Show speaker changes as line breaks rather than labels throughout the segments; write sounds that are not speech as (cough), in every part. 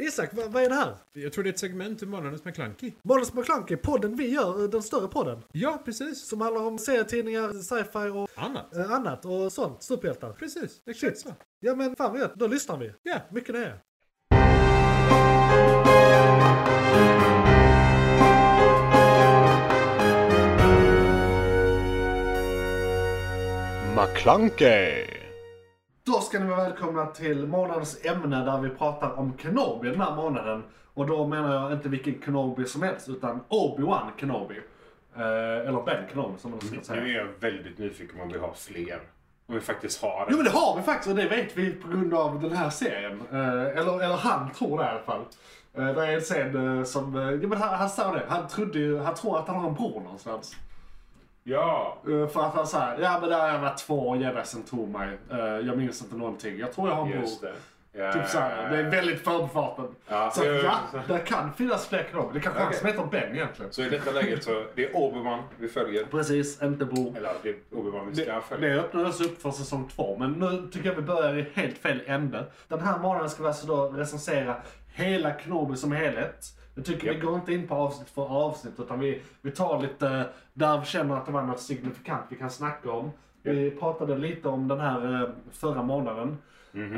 Isak, vad, vad är det här?
Jag tror det är ett segment ur Månadens McKlunky.
Måns McClunky, podden vi gör, eh, den större podden.
Ja, precis.
Som handlar om serietidningar, sci-fi och
Annat.
eh, annat och sånt. Superhjältar.
Precis, exakt så.
Ja men fan vad gött, då lyssnar vi.
Ja.
Mycket nöje.
McClunkey!
Då ska ni vara välkomna till månadens ämne där vi pratar om Kenobi den här månaden. Och då menar jag inte vilken Kenobi som helst utan Obi-Wan Kenobi. Eh, eller Ben Kenobi som man ska säga.
Nu är jag väldigt nyfiken om vi har fler. Om vi faktiskt har
Jo men det har vi faktiskt och det vet vi på grund av den här serien. Eh, eller, eller han tror det i alla fall. Eh, det är en scen eh, som, eh, ja men han, han sa det, han trodde ju, han tror att han har en bror någonstans.
Ja!
Eh, för att han såhär, ja men där har jag varit två jedi sen tog mig. Eh, jag minns inte någonting, jag tror jag har en
Just
bror.
det. Ja,
Typ såhär, det är väldigt förbifarten.
Ja.
Så
Ja,
att, ja,
precis.
det kan finnas fler kanoner. Det kanske är han
Okej.
som heter Ben egentligen.
Så i detta läget så, det är Obi-Wan vi följer.
Precis, inte bror.
Eller det är Obi-Wan vi ska
Det,
följa.
det öppnades upp för säsong två, men nu tycker jag vi börjar i helt fel ände. Den här månaden ska vi alltså då recensera hela Knobi som helhet. Jag tycker vi
Japp.
går inte in på avsnitt för avsnitt, utan vi, vi tar lite där vi känner att det var något signifikant vi kan snacka om. Vi pratade lite om den här eh, förra månaden.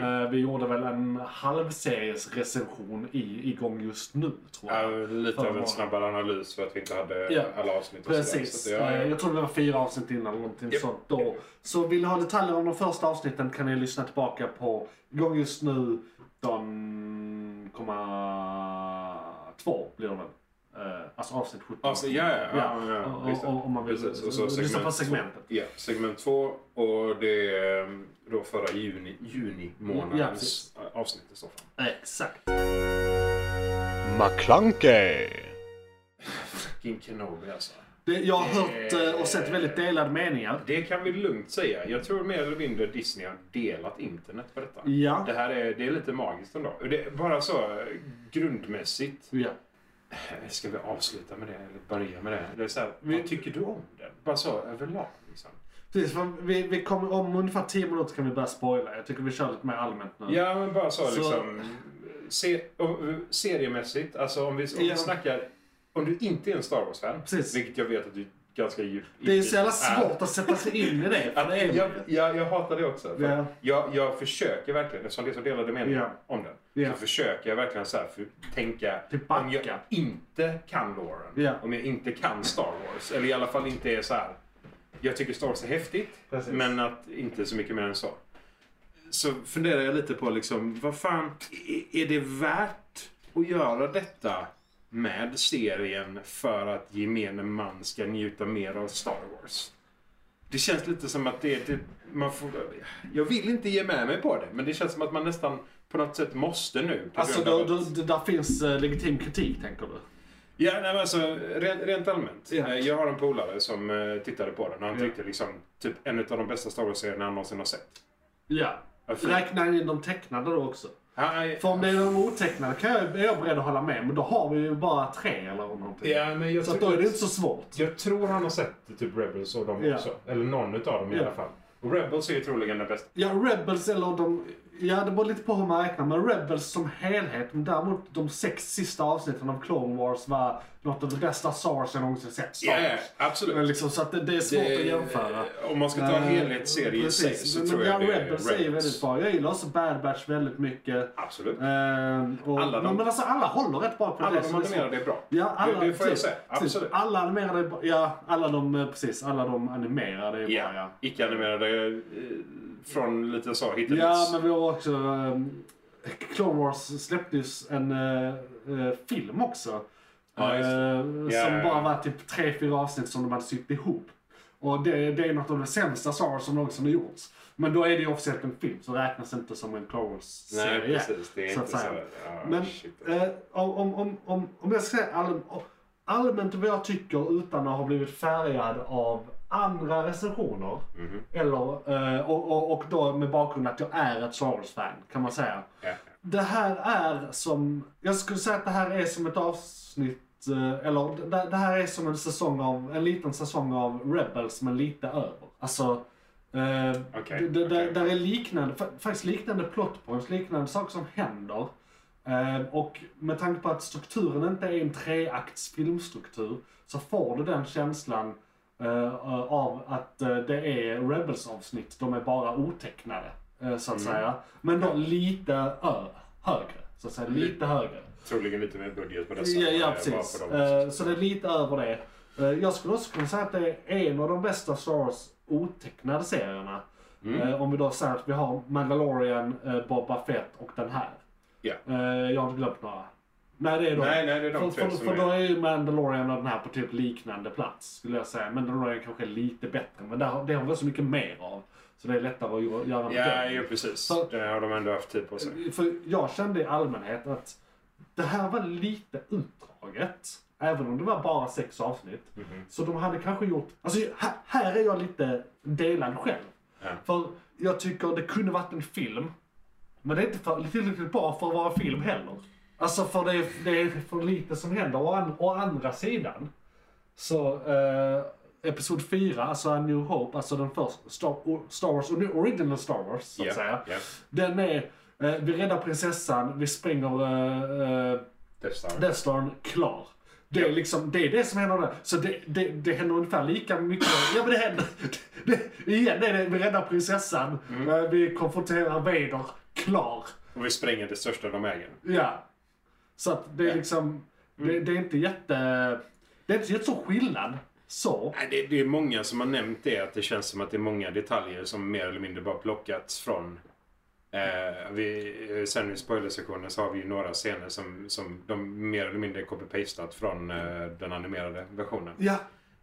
Eh, Vi gjorde väl en halvseries recension i, igång just nu, tror jag.
Ja, lite av en snabbare analys för att vi inte hade
Ja,
alla avsnitt och sådär.
Precis.
Så att, ja,
Eh,
ja.
Jag tror det var fyra avsnitt innan eller någonting
Japp.
sånt då. Så vill ni ha detaljer om de första avsnitten kan ni lyssna tillbaka på igång just nu 19,2 blir det väl? Eh, Alltså avsnitt 17.
Alltså, ja, ja, ja, ja,
och-
visst.
och- om man vill
Precis. Och så
lyssna på
segment två.
segmentet.
Ja, segment två och det är eh, då förra juni, juni
Mm, Ja,
månadens
precis.
avsnitt i så fall.
Exakt.
McClunkey. Fucking Kenobi alltså.
Det, jag har hört eh, och sett väldigt delade meningar.
Det kan vi lugnt säga. Jag tror mer eller mindre Disney har delat internet på detta.
Ja.
Det här är, det är lite magiskt ändå. Det är bara så eh, grundmässigt.
Ja.
Eh, Ska vi avsluta med det eller börja med det? det är så här, vad tycker du om den? Bara så överlag liksom.
Precis, för vi, vi kommer, om ungefär 10 minuter kan vi börja spoila. Jag tycker vi kör lite mer allmänt nu.
Ja, men bara så,
Så-
liksom. Se, och, eh, seriemässigt, alltså om vi, om
Ja.
vi snackar... Om du inte är en Star Wars-fan,
Precis.
vilket jag vet att du ganska djupt
Det är ju så jävla svårt att sätta sig in i det. För det är...
jag, jag, jag hatar det också. För
Ja.
jag, jag försöker verkligen, eftersom det är så delade meningar
Ja.
om den,
Ja.
så försöker jag verkligen så här för, tänka
Tillbaka.
om jag inte kan Lauren,
Ja.
om jag inte kan Star Wars, eller i alla fall inte är så här. Jag tycker Star Wars är häftigt,
Precis.
men att inte så mycket mer än så. Så funderar jag lite på liksom, vad fan, i- är det värt att göra detta med serien för att gemene man ska njuta mer av Star Wars? Det känns lite som att det, det man får, Jag vill inte ge med mig på det, men det känns som att man nästan på något sätt måste nu. på
Alltså,
grund av
då,
att-
då, då, där finns eh, legitim kritik, tänker du?
Ja, nej, men alltså, rent, rent allmänt.
Ja.
Eh, Jag har en polare som eh, tittade på den och han
Ja.
tyckte liksom, typ en av de bästa Star Wars-serierna han någonsin har sett.
Ja.
Varför?
Räkna in de tecknade då också.
Han,
För om det är de otecknade kan jag, är jag beredd att hålla med, men då har vi ju bara tre eller någonting.
ja, men jag,
Så att
tror-
då är det inte så svårt.
jag tror han har sett typ Rebels och dem
Ja.
också. Eller någon av dem i
Ja.
alla fall. Och Rebels är ju troligen den bästa.
Ja, Rebels eller de... Ja, det beror lite på hur man räknar, men Rebels som helhet, men däremot de sex sista avsnitten av Clone Wars var något av det bästa Star Wars jag någonsin sett. Star
Ja,
Wars.
absolut.
Men liksom, så att det, det är svårt att jämföra.
Om man ska ta en
Eh,
helhetsserie i sig
precis.
så
Men
tror
ja,
jag det är
Rebels är ju väldigt bra. Jag gillar också Bad Batch väldigt mycket.
Absolut.
Ehm, och,
Alla de-
men alltså alla håller rätt bra på det.
Alla de
så det är
animerade
svårt.
är bra.
Ja, alla,
det, det får jag
precis,
säga.
precis.
Absolut.
Alla animerade, är bra. ja alla de, eh, precis, alla de animerade är bra
Ja,
ja.
icke-animerade eh, från lite så hit and
Ja,
miss.
men vi har också... ehm, Clone Wars släppte ju en eh, eh, film också.
Ja, just det.
Eh,
Ja,
som
ja, ja.
bara var typ tre, fyra avsnitt som de hade sytt ihop. Och det, det är något av det sämsta Star Wars som någonsin har gjorts. Men då är det ju officiellt en film, så räknas det inte som en Clone Wars-serie.
Nej, precis. Det är
så
inte
att
så.
säga.
ja,
Men
Ah, shit.
eh, om, om, om, om, om jag ska säga all, allmänt vad jag tycker utan att ha blivit färgad av andra recensioner.
Mhm.
Eller, eh, och, och, och då med bakgrund att jag är ett Star Wars-fan kan man säga.
Ja.
Det här är som, jag skulle säga att det här är som ett avsnitt, eh, eller det, det här är som en säsong av, en liten säsong av Rebels men lite över. Alltså, eh,
Okej,
det, det,
okej.
där är liknande, fa- faktiskt liknande plot points, liknande saker som händer. Eh, Eh, Och med tanke på att strukturen inte är en treakts filmstruktur så får du den känslan eh, av att eh, det är Rebels-avsnitt. De är bara otecknade, eh, så att säga. Men då lite ö- högre, så att säga. Lite högre.
Troligen lite mer budget på dessa.
Ja,
eh,
ja
bara
precis.
på dem.
Eh, Så det är lite över det. Eh, Jag skulle också kunna säga att det är en av de bästa Star Wars otecknade serierna.
Mm.
Eh, Om vi då säger att vi har Mandalorian, eh, Boba Fett och den här.
Ja.
Eh, Jag har inte glömt några. Nej det är de.
Nej, nej, det är de
för,
tre
för,
som
för
är-
då är ju Mandalorian och den här på typ liknande plats skulle jag säga. Mandalorian kanske är lite bättre men det har, det har vi så mycket mer av. Så det är lättare att gö- göra
Ja,
det.
ju precis.
Så- Eh,
Det har de ändå haft tid på sig.
För jag kände i allmänhet att det här var lite utdraget. Även om det var bara sex avsnitt. Så de hade kanske gjort... Alltså här, här är jag lite delad själv.
Ja.
För jag tycker det kunde varit en film. Men det är inte för, tillräckligt bra för att vara film heller. Alltså för det är, det är för lite som händer. Å, an, å andra sidan. Så eh, Episod 4, alltså A New Hope, alltså den första Star, Star Wars, original Star Wars så att
Ja,
säga.
ja.
Den är, eh, vi räddar prinsessan, vi spränger eh, eh,
Death Star.
Death Starn, klar. Det är, liksom, det är det som händer där. Så det, det, det händer ungefär lika mycket. Ja men det händer. Det, igen det är det, vi räddar prinsessan,
Mm.
eh, vi konfronterar Vader, klar.
Och vi spränger det största de äger.
Ja. Så att det är
Ja. Mm.
liksom, det, det är inte jätte, det är inte jättestor skillnad. Så.
Nej, Det, det är många som har nämnt det, att det känns som att det är många detaljer som mer eller mindre bara plockats från... Eh, vi, eh, sen i spoilersektionen så har vi ju några scener som, som de mer eller mindre copy-pastat från eh, den animerade versionen.
Ja,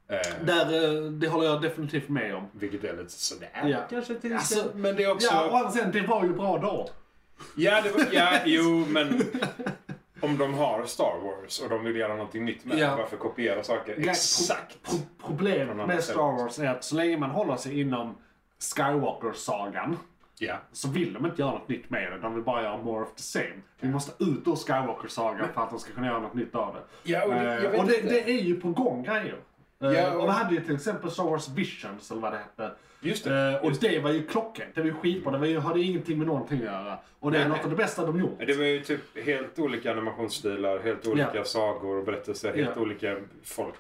Eh,
där, eh, det håller jag definitivt med om.
vilket är lite sådär.
Ja.
Kanske till
Alltså,
men det är också...
Ja, och sen, det var ju bra
(laughs)
då.
Ja, det var, ja, jo, men om de har Star Wars och de vill göra någonting nytt med
Ja.
det, varför kopiera saker?
Ja,
Exakt!
Pro problemet
Från andra
med
stället.
Star Wars är att så länge man håller sig inom Skywalker-sagan
Ja.
så vill de inte göra något nytt med det. De vill bara göra more of the same. Vi måste ut ur Skywalker-sagan för att de ska kunna göra något nytt av det.
Ja, och det- jag
Eh,
vet
och det,
inte.
det är ju på gång grejer. Eh,
Ja, och-
och... vi hade ju till exempel Star Wars Visions eller vad det hette.
Just det,
Eh, och det var ju klockan. Det var ju skitbra. Det var ju, hade ingenting med någonting att göra. Och det är
Nej,
något
nej.
av det bästa de gjort.
Det var ju typ helt olika animationsstilar, helt olika
Ja.
sagor och berättelser, helt
Ja.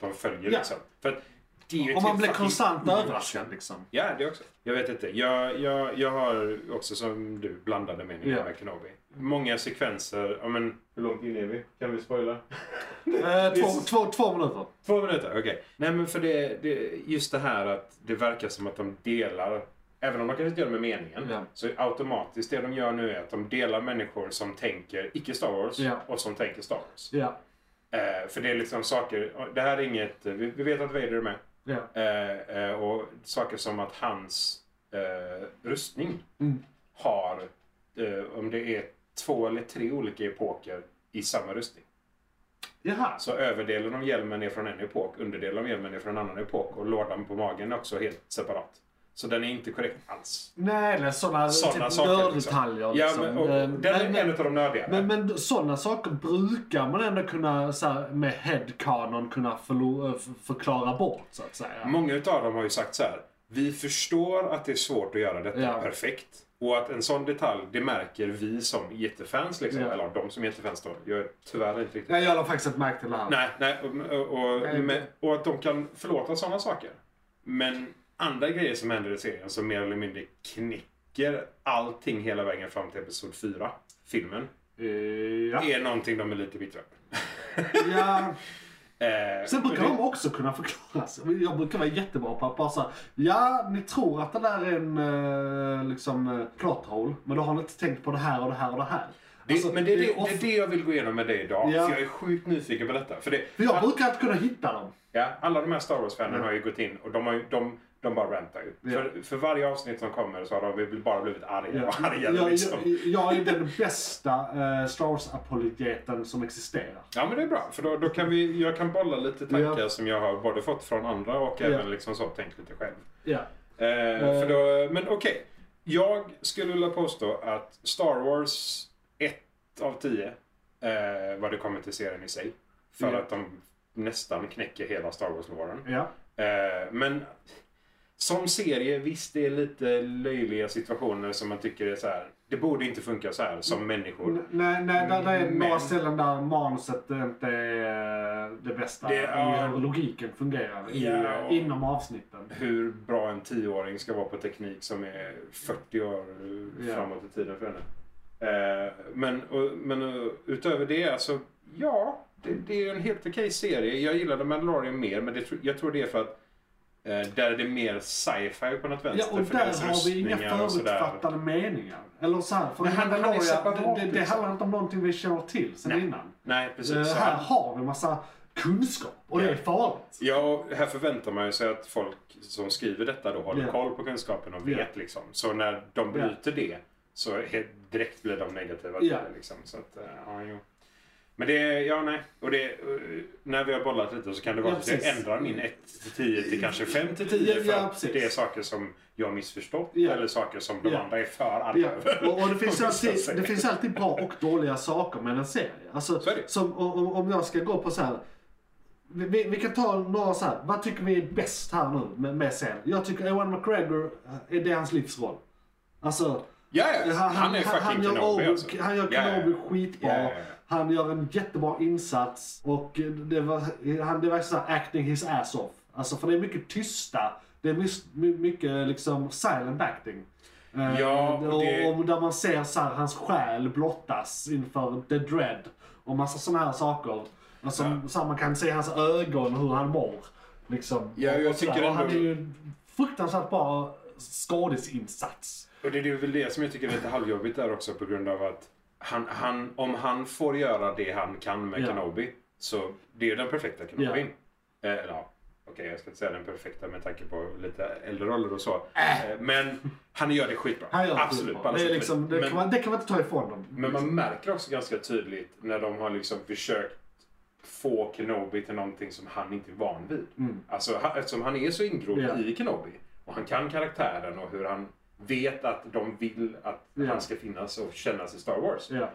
man följer Ja.
liksom. För att det är ju ett
Om man
helt
blir
fucking
konstant
universum.
överraskad liksom.
Ja, det också. Jag vet inte. Jag, jag, jag har också som du blandade meningar
Ja.
med Kenobi. Många sekvenser. Ja, men, Hur långt in är vi? Kan vi (laughs) spoila?
Eh, två, två, två minuter.
Två minuter, okej. Nej men för det, det, just det här att det verkar som att de delar, även om de kanske inte gör det med meningen,
Ja.
så automatiskt det de gör nu är att de delar människor som tänker icke Star Wars
Ja.
och som tänker Star Wars.
Ja.
Eh, för det är liksom saker, det här är inget, eh, vi, vi vet att Vader är med.
ja.
Eh, eh, och saker som att hans eh, rustning
Mm.
har, eh, om det är två eller tre olika epoker i samma rustning.
Jaha.
Så överdelen av hjälmen är från en epok, underdelen av hjälmen är från en annan epok och lådan på magen är också helt separat. Så den är inte korrekt alls.
Nej, eller sådana
Sådana
typ
saker.
nörddetaljer.
Liksom.
Liksom.
Ja, men, och,
Eh,
och, den är en
men,
av de nördiga.
men, men sådana saker brukar man ändå kunna så här, med headcanon kunna förlo- eh, f- förklara bort så att säga.
Många av dem har ju sagt så här. Vi förstår att det är svårt att göra detta
Ja.
perfekt. Och att en sån detalj, det märker vi som jättefans. Liksom.
Ja.
Eller de som är jättefans då. Jag är tyvärr inte riktigt...
Nej, jag har faktiskt inte märkt det här.
Nej, nej och, och,
Nej,
men,
inte.
och att de kan förlåta sådana saker. Men andra grejer som händer i serien som mer eller mindre knäcker allting hela vägen fram till episod 4, filmen,
Eh, Ja.
är någonting de är lite bittra över.
ja.
Eh,
Sen brukar
och
de också kunna förklaras. Jag brukar vara jättebra på att bara säga ja, ni tror att det där är en eh, liksom, eh, plot hole, men då har ni inte tänkt på det här och det här och det här.
det,
Alltså,
men det är det,
off-
det, är det jag vill gå igenom med dig idag.
Ja.
För jag är sjukt nyfiken på detta. För det,
För jag brukar inte kunna hitta dem.
Ja, alla de här Star Wars-fanen har ju gått in och de, har ju, de, de bara rantar ju.
Ja.
För, för varje avsnitt som kommer så har de bara blivit arga
Ja,
och arga.
jag,
liksom.
jag, jag är den bästa uh, Star Wars-apologeten som existerar.
Ja men det är bra, för då, då kan vi, jag kan bolla lite tankar
Ja.
som jag har både fått från andra och
Ja.
även liksom så tänkt lite själv.
Ja.
Eh, För då, men okej, jag skulle vilja påstå att Star Wars 1 av 10 eh, vad det kommer till serien i sig. För
Ja.
att de nästan knäcker hela Star Wars-låren.
Ja.
Eh, men Som serie, visst det är lite löjliga situationer som man tycker är så här. Det borde inte funka så här
Mm.
som människor.
Nej, nej där, där är
Men-
några ställen där manuset inte är eh, det bästa.
Det-
i
ja.
hur logiken fungerar i, eh,
Ja.
inom avsnitten.
Hur bra en tioåring ska vara på teknik som är 40 år eh,
Ja.
framåt i tiden för henne. Eh, Men, och, men eh, utöver det, alltså ja, det, det är en helt okej serie. Jag gillade Mandalorian mer, men det, tro- jag tror det är för att eh, där är det mer sci-fi på något
Ja,
vänster.
och
för deras
där har vi inga
rustningar och sådär.
förutfattade meningar. Eller så här, för
Men han- han är
Mandalorian,
separat,
det, det, det
liksom.
handlar inte om någonting vi känner till sen innan.
Nej, precis.
Eh,
Så
här
han-
har vi massa kunskap och det
Ja.
är farligt.
Ja, och här förväntar man ju sig att folk som skriver detta då håller
Ja.
koll på kunskapen och vet
Ja.
liksom. Så när
Ja.
de bryter det så helt direkt blir de negativa till
Ja.
det liksom. Så att, eh, ja, jo. Men det, ja nej. Och det, eh, när vi har bollat lite så kan det vara
Ja,
så att jag
precis. Mm.
ändrar min 1 till 10 till kanske 5 till 10
Ja,
för
ja,
att
precis.
det är saker som jag missförstått
Ja.
eller saker som de
Ja.
andra är för arga
Ja.
över.
Och,
(laughs)
och det, finns
Om vissa
alltid,
säger.
det finns alltid bra och dåliga saker med en serie. Alltså,
Så är det.
som, om, om- om jag ska gå på så här. Vi, vi, vi kan ta några så här. Vad tycker vi är bäst här nu med, med serien? Jag tycker Ewan McGregor, eh, är det hans livsroll? Alltså,
Ja, ja. Han, är fucking
gör
Kenobi
Obi-
alltså.
Han gör
Ja, ja.
Kenobi skitbra.
Ja, ja, ja.
Han gör en jättebra insats. Och det var, han, det var så här acting his ass off. Alltså för det är mycket tysta. Det är mys- my- mycket liksom silent acting. Eh,
Ja, och
och,
det-
och där man ser så här, hans själ blottas inför the dread. Och massa sådana här saker. Alltså, så här, man kan se hans ögon, hur han mår. Liksom.
Ja,
och,
jag
och så där.
tycker
och han är
ändå-
ju en fruktansvärt bra skådisinsats.
Och det är väl det som jag tycker är lite halvjobbigt där också på grund av att han, han, om han får göra det han kan med
Ja.
Kenobi så det är ju den perfekta Kenobin. Eh, eller ja, okej jag ska inte säga den perfekta med tanke på lite äldre roller och så. Eh, men han gör det skitbra.
Äh. Han gör
Absolut.
skitbra.
på alla
Det, är
sätt och
liksom,
vis.
det,
men,
kan man, det kan man inte ta ifrån dem.
men man märker också ganska tydligt när de har liksom försökt få Kenobi till någonting som han inte är van vid. Alltså, han, eftersom han är så ingrodd
Mm. Ja.
i Kenobi och han kan karaktären och hur han vet att de vill att
Ja.
han ska finnas och kännas i Star Wars.
Ja.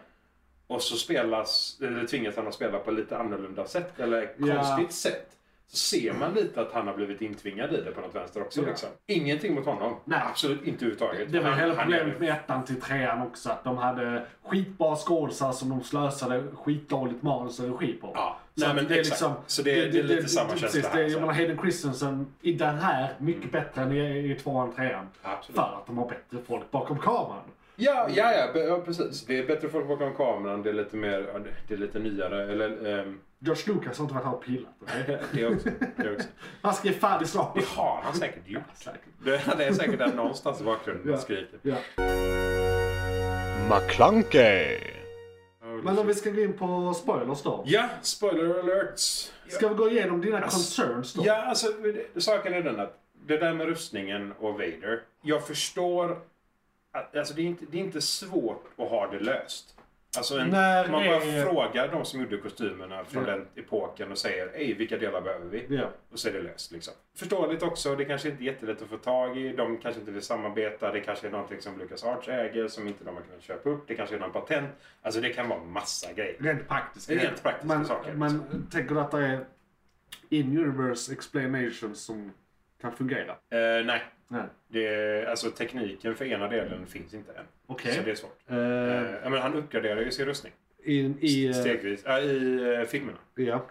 Och så spelas, eller tvingas han att spela på lite annorlunda sätt eller
Ja.
konstigt sätt. Så ser man lite att han har blivit intvingad i det på något vänster också.
Ja.
Liksom. Ingenting mot honom.
Nej.
Absolut inte överhuvudtaget.
Det var
Han-
hela
han gör
problemet
det.
med ettan till trean också. Att de hade skitbra skådisar som de slösade skitdåligt manus och regi på.
Ja.
Så
Nej,
att
men
det är
exakt. Så det är- det är lite samma känsla
Precis,
här,
det är,
så
jag
här.
menar Hayden Christensen i den här, mycket bättre än i, i tvåan, trean.
Absolut.
För att de har bättre folk bakom kameran.
Ja, ja, ja, be- ja, precis. Det är bättre folk bakom kameran. Det är lite mer, ja, det- det är lite nyare. Eller, ehm,
George Lucas har inte varit här och pillat. okej?
(laughs) det också. Det också.
Han skrev färdig slag.
Det har han säkert gjort. Det det är säkert där någonstans i bakgrunden
Ja.
man skriker.
Ja.
McClunkey.
Men om vi ska gå in på spoilers då.
Ja, spoiler alerts.
Ska vi gå igenom dina concerns då?
Ja, alltså det- saken är den att det där med rustningen och Vader. Jag förstår att alltså, det, är inte, det är inte svårt att ha det löst. Alltså en,
När
man bara
är-
frågar de som gjorde kostymerna från
Ja.
den epoken och säger Ej, vilka delar behöver vi?
Ja.
Och så är det löst. Liksom. Förståeligt också. Det kanske inte är jättelätt att få tag i. De kanske inte vill samarbeta. Det kanske är någonting som Lucas Arts äger som inte de har kunnat köpa upp. Det kanske är någon patent. Alltså det kan vara massa grejer.
Rent praktiska.
Rent praktiska
men,
saker.
Men tänker du att det är in-universe explanations som kan fungera?
Eh, nej,
Nej.
det, alltså tekniken för ena delen finns inte än.
Okej.
Så det är svårt.
Eh,
Eh, ja, men han uppgraderar ju sin rustning.
in, I... eh,
Stegvis. Äh, I eh, filmerna.
ja.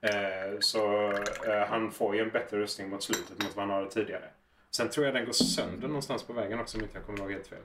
Eh, så eh, han får ju en bättre rustning mot slutet mot vad han hade tidigare. Sen tror jag den går sönder någonstans på vägen också om inte jag kommer ihåg helt fel.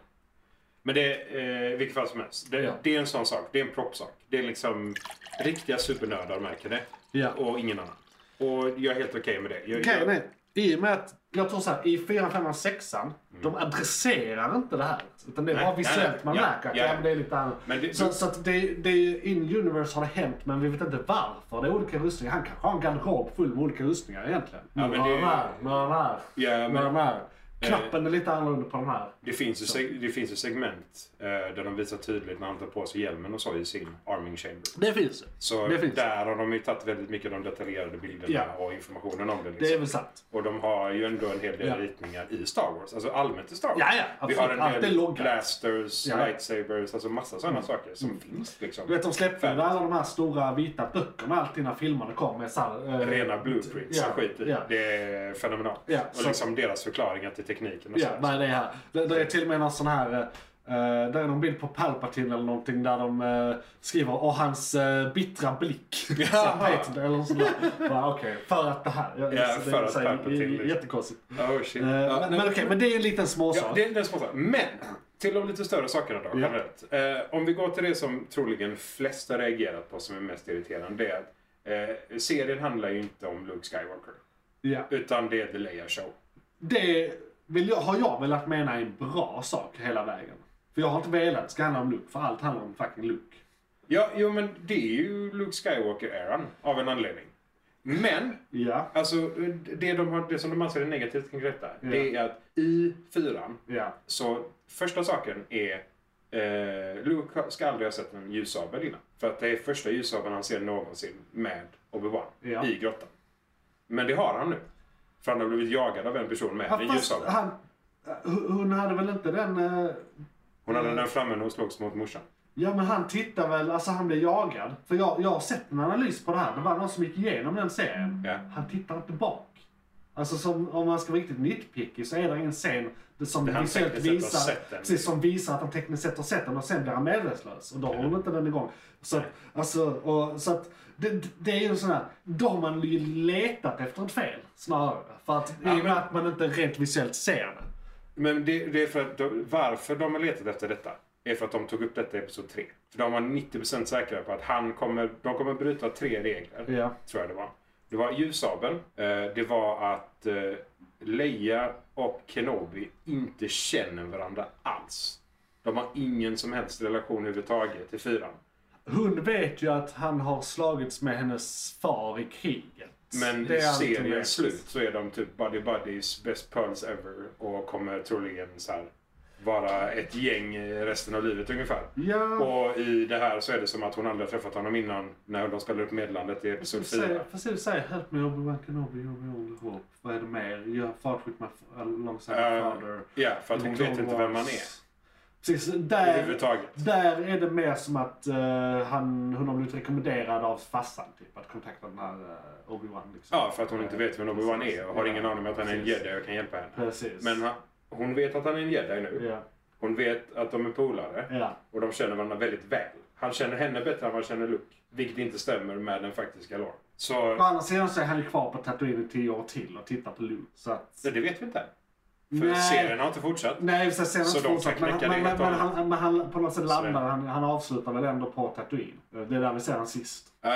Men det är eh, vilket fall som helst. Det,
Ja.
det är en sån sak. Det är en proppsak. Det är liksom riktiga supernördar märker det.
Ja.
Och ingen annan. Och jag är helt okej med det. Jag,
Grejen
jag,
är, i och med att jag tror såhär, i 4, 5 och 6 de adresserar inte det här. Utan det är
Mm.
bara
Nej, nej, nej.
visuellt man
Ja,
märker att
ja.
ja, men det är lite annat.
Men det-
så så att det, det är in-universe har det hänt, men vi vet inte varför. Det är olika rustningar. Han kanske har en garderob full med olika rustningar egentligen.
Ja,
Nu
men
har
det-
han här, nu har han här,
Ja,
nu
men- Eh.
har han här. Knappen är lite annorlunda på den här.
Det finns, ju seg- det finns ju segment eh, där de visar tydligt när han tar på sig hjälmen och så i sin arming chamber.
Det finns det.
Så
Det finns.
där har de ju tagit väldigt mycket av de detaljerade bilderna
Ja.
och informationen om det. Liksom.
Det är väl sant.
Och de har ju ändå en hel del
Ja.
ritningar i Star Wars. Alltså allmänt i Star Wars.
Ja, ja, absolut.
Vi har en
Allt är
del
loggat.
blasters,
Ja, ja.
lightsabers, alltså massa sådana saker som finns liksom.
Du vet de släppte ju alla de här stora vita böckerna alltid när filmerna kom. Med så här, eh,
Rena blueprints
Ja,
och skit i.
ja.
Det är fenomenalt.
Ja,
och
så-
liksom deras förklaringar till tekniken och
Ja,
sådär.
vad är det här? Det, det är till och med någon sån här... eh, eh, där är någon bild på Palpatine eller någonting där de eh, skriver och hans eh, bittra
(laughs)
blick.
Ja.
Så här, Patton eller något sånt där. Bara, Okej, för att det här. Ja, så
för
är
att
så här
Palpatine,
j- j-
liksom.
Jättekonstigt.
Oh, shit.
Eh,
Ja,
men
nej,
men okej, men det är en liten småsak.
Ja, det är den små saken. Men till de lite större sakerna då,
Ja.
generellt. Eh, om vi går till det som troligen flest har reagerat på som är mest irriterande. Det är att eh, serien handlar ju inte om Luke Skywalker.
Ja.
Utan det är The Leia Show.
Det vill jag, har jag velat mena är en bra sak hela vägen. För jag har inte velat att det ska handla om Luke, för allt handlar om fucking Luke.
Ja, jo men det är ju Luke Skywalker-eran av en anledning. Men,
Ja,
alltså det, de har, det som de anser är negativt kring detta. Det är att i fyran
ja,
Så första saken är eh, Luke ska aldrig ha sett en ljussabel innan. För att det är första ljussabeln han ser någonsin med Obi-Wan
Ja.
i grottan. Men det har han nu. För han har blivit jagad av en person med en
Ja, fast
ljussabel.
han, eh, hon hade väl inte den... eh,
Hon hade den framme och slogs mot morsan.
Ja men han tittar väl, alltså han blir jagad. För jag, jag har sett en analys på det här. Det var någon som gick igenom den serien.
Ja.
Han tittar inte bak. Alltså som, om man ska vara riktigt nitpicky så är det ingen scen som
han
visuellt
tekniskt sett har
visar,
sett den.
precis, som visar att han tekniskt sett har sett den och sen blir han medvetslös. Och då har hon inte den igång. Så att, alltså, och, så att det, det är ju en sån här, då har man ju letat efter ett fel snarare. För att
Ja,
i och
men-
med att man inte rent visuellt ser det.
Men det, det är för att de, varför de har letat efter detta är för att de tog upp detta i episod 3. För de var 90% säkra på att han kommer, de kommer bryta tre regler.
Ja.
Tror jag det var. Det var ljussabeln. eh, Det var att eh, Leia och Kenobi inte känner varandra alls. De har ingen som helst relation överhuvudtaget till fyran.
Hon vet ju att han har slagits med hennes far i kriget.
Men
Det
i
är allt hon
seriens
vet.
slut så är de typ buddy buddies, best pearls ever och kommer troligen så här vara ett gäng eh, resten av livet ungefär.
Ja,
Och i det här så är det som att hon aldrig har träffat honom innan när de spelar upp Medlandet i
får
Episod 4.
se- får se du säger Help me Obi-Wan Kenobi, you're my only hope. Vad är det mer? You fought with my f- alongside my
Eh,
father.
Ja, för att hon
The
vet
Clone
inte vem man är.
Wars. Precis, där,
Överhuvudtaget.
där är det mer som att eh, han, hon har blivit rekommenderad av farsan typ, att kontakta den här eh, Obi-Wan. Liksom.
Ja, för att hon inte vet vem Obi-Wan är och har ingen aning om att han är en
Precis.
jedi och kan hjälpa henne.
Precis.
Men han- hon vet att han är en jedi nu.
Ja,
Hon vet att de är polare
ja.
och de känner varandra väldigt väl. Han känner henne bättre än vad han känner Luke, vilket inte stämmer med den faktiska lore.
Å
Så
andra sidan så är han ju kvar på Tatooine i tio år till och tittar på Luke. Så att...
det vet vi inte. För
Nej.
serien har inte fortsatt.
Nej, så sen
Så
så
de
de
kan
men,
knäcka
men, men,
det helt och hållet.
han, men han på något sätt
Så det-
landar han, han avslutar väl ändå på Tatooine. Det är där vi ser han sist.
Eh,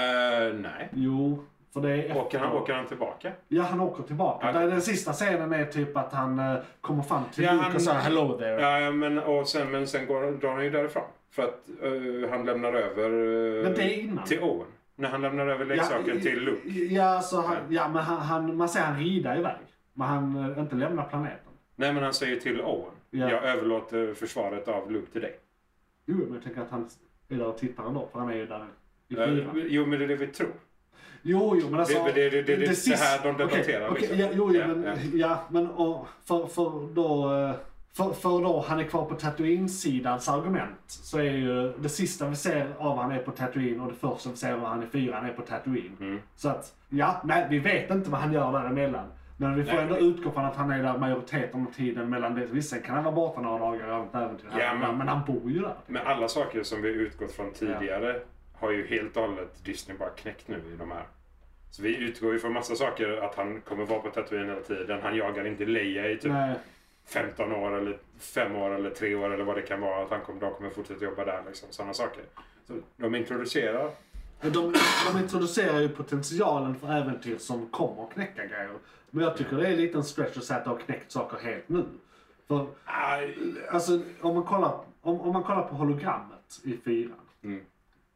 nej.
Jo, för det är
Åker han, åker han tillbaka?
Ja, han åker tillbaka.
Okej.
Där, den sista scenen är typ att han eh, kommer fram till
Ja,
Luke
han-
och säger “Hello there”.
Ja, ja, Eh, men, och sen, men sen går, drar han ju därifrån. För att eh, han lämnar över eh,
Men det är innan.
till Owen. När han lämnar över leksaken till Luke.
Ja, så han, ja men han, han, man ser han rida iväg. Men han eh, inte lämnar planeten.
Nej, men han säger till Owen.
Ja.
Jag överlåter försvaret av Luke till dig.
Jo, men jag tänker att han är där och tittar ändå, för han är ju där i
Eh,
fyran.
jo, men det är det vi tror.
Jo, jo, men alltså...
Det- det- det- det- det här
sist-
de debatterar,
okej,
liksom.
okej, ja, jo,
Ja,
ja, men, ja. men och, för, för då... eh, För, för då han är kvar på Tatooine-sidans argument så är ju det sista vi ser av han är på Tatooine och det första vi ser av han är fyran är på Tatooine.
Mm.
Så att, ja, nej, vi vet inte vad han gör däremellan. Men vi får
Nej,
ändå
vi-
utgå från att han är där majoriteten av tiden mellan det. Visst, sen kan han vara borta några dagar och inte äventyr.
Ja,
här,
men-
men han bor ju där.
Men alla saker som vi utgått från tidigare har ju helt och hållet Disney bara knäckt nu i de här. Så vi utgår ju från massa saker. Att han kommer vara på Tatooine hela tiden. Han jagar inte Leia i typ
Nej,
15 år eller 5 år eller 3 år eller vad det kan vara. Att han kommer, de kommer fortsätta jobba där. Liksom, Sådana saker. Så de introducerar.
Men De, de introducerar ju potentialen för äventyr som kommer att knäcka grejer. Men jag tycker det är en liten stretch att säga att det har knäckt saker helt nu. För
Ah,
alltså, om, man kollar, om, om man kollar på hologrammet i fyran.
Mm.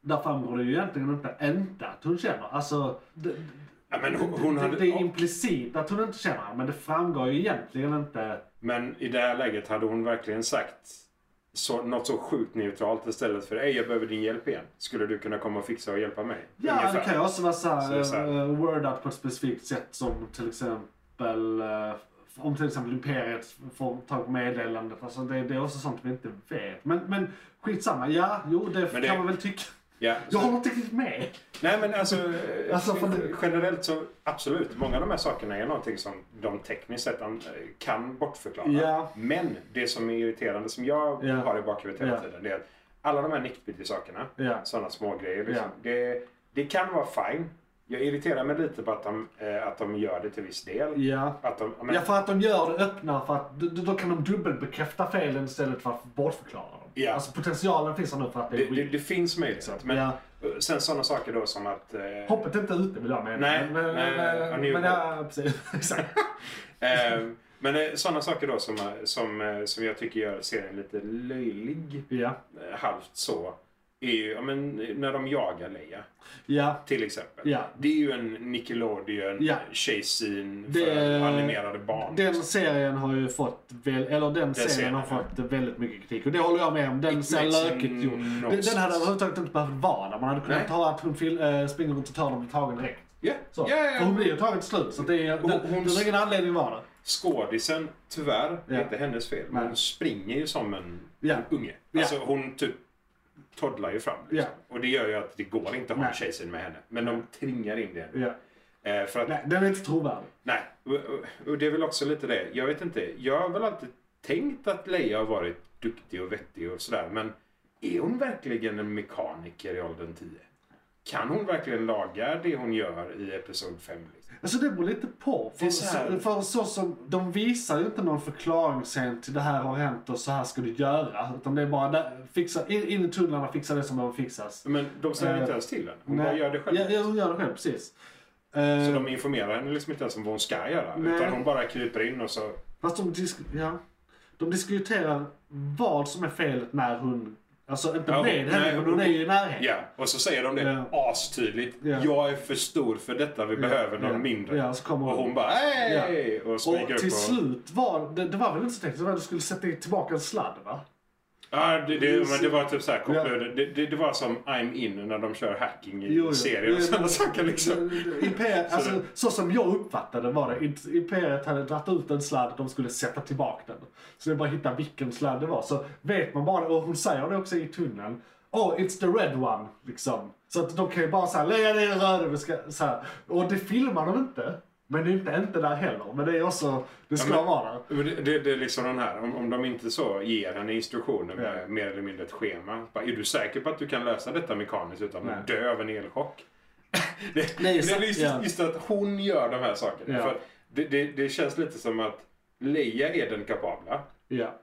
Där framgår det ju egentligen inte, inte att hon känner. Alltså, det,
Ja, men hon, hon
det,
hade...
det är implicit att hon inte känner men det framgår ju egentligen inte.
Men i det här läget hade hon verkligen sagt så, något så sjukt neutralt istället för Ej, jag behöver din hjälp igen. Skulle du kunna komma och fixa och hjälpa mig?
Ja,
Ungefär.
det kan ju också vara så
Så det
här,
är så här.
eh, wordat på ett specifikt sätt som till exempel eh, om till exempel Imperiet får tag på meddelandet. Alltså det, det är också sånt vi inte vet. Men, men skitsamma, ja, jo det,
Men det-
kan man väl tycka.
Ja,
Jag
så-
håller inte riktigt med.
Nej men alltså, eh,
Alltså, för det-
generellt så absolut. Många av de här sakerna är någonting som de tekniskt sett an- eh, kan bortförklara.
Ja.
Men det som är irriterande som jag
Ja.
har i bakhuvudet hela
Ja.
tiden det är att alla de här nickbytesakerna,
Ja.
sådana små grejer liksom,
Ja.
det, det kan vara fine. Jag irriterar mig lite på att de, eh, att de gör det till viss del.
Ja.
Att de, men,
Ja, för att de gör det öppna för att då, då kan de dubbelbekräfta felen istället för att bortförklara dem.
Ja.
Alltså potentialen finns här nu för att det
det,
är
det,
skit.
det finns möjlighet. Men
Ja.
eh, sen sådana saker då som att... eh,
Hoppet är inte ute vill jag mena.
Nej,
men,
nej, ja,
men,
nu-
men ja, precis. (laughs) Exakt.
Eh, men sådana saker då som, eh, som, eh, som jag tycker gör serien lite löjlig,
Ja.
eh, halvt så, är ju ja, men, eh, när de jagar Leia,
Ja.
till exempel.
Ja.
Det är ju en Nickelodeon
Ja.
tjejscen för
Det-
animerade barn.
Den serien har ju fått, väl, eller den serien
serien,
har
ja.
fått väldigt mycket kritik och det håller jag med om. Den
It
ser
makes
lökigt ut.
no
Den, den hade
sense.
överhuvudtaget inte behövt vara där. Man hade kunnat
Nej.
ta att hon fil, äh, springer runt och tar dem och blir tagen direkt.
Ja,
Så.
ja, ja.
För hon blir ju tagen till slut så det är,
Hon-
den,
hon-
det är ingen anledning att vara där.
Skådisen, tyvärr, det är
Ja.
inte hennes fel.
Nej.
Men hon springer ju som en
Ja.
en unge.
Ja.
Alltså hon typ toddlar ju fram. Liksom. Och det gör ju att det går inte att ha en
Nej.
tjejscen med henne. Men de tvingar in det.
Ja.
Eh, för att
Nej, den är inte trovärdig.
Nej, och- och- och det är väl också lite det. Jag vet inte. Jag har väl alltid tänkt att Leia har varit duktig och vettig och sådär. Men är hon verkligen en mekaniker i åldern 10? Kan hon verkligen laga det hon gör i Episod 5? Liksom?
Alltså det beror lite på.
Det
För
är så
så,
här-
för så som, de visar ju inte någon förklaring sen till det här har hänt och så här ska du göra. Utan det är bara där, fixa, in, in i tunnlarna, fixa det som behöver fixas.
Men de säger
Eh,
inte ens till henne. Hon
Nej.
bara gör det själv.
Ja, ja, hon gör det själv, precis.
Så
Eh,
de informerar henne liksom inte ens om vad hon ska göra.
Nej.
Utan hon bara kryper in och så...
Fast de, disk ja. de diskuterar vad som är felet när hon... Alltså inte
Ja, hon-
med henne,
nej,
men
hon-
hon är ju i närheten.
Ja, och så säger de det
Ja.
astydligt.
Ja.
Jag är för stor för detta. Vi behöver någon
ja.
mindre.
Ja, så kommer
Och hon bara hej! Och smyger upp
Och till
och...
slut var det, det var väl inte så tänkt att du skulle sätta i tillbaka en sladd va?
Ja, det, det, men det var typ så här kopplat.
Ja.
Det, det, det var som I'm in när de kör hacking i
Jo, jo.
serier och
Jo,
sådana
men-
saker liksom.
Imperiet,
Så
alltså,
det-
så som jag uppfattade var det. Imp- Imperiet hade dragit ut en sladd de skulle sätta tillbaka den. Så det är bara att hitta vilken sladd det var. Så vet man bara, och hon säger det också i tunneln. Oh, it's the red one, liksom. Så att de kan ju bara säga, lägga ner den röda, vi ska, så här. Och det filmar de inte. Men det är inte, inte där heller. Men det är också, det ska
men-
vara där.
Men Det, det, det är liksom den här, om, om de inte så ger henne instruktioner med
Ja.
mer eller mindre ett schema. Bara, är du säker på att du kan lösa detta mekaniskt utan att dö av en elchock? (laughs) det,
Nej,
det
exakt,
är just,
ja.
just att hon gör de här sakerna.
Ja.
För det, det, det känns lite som att Leia är den kapabla.
Ja.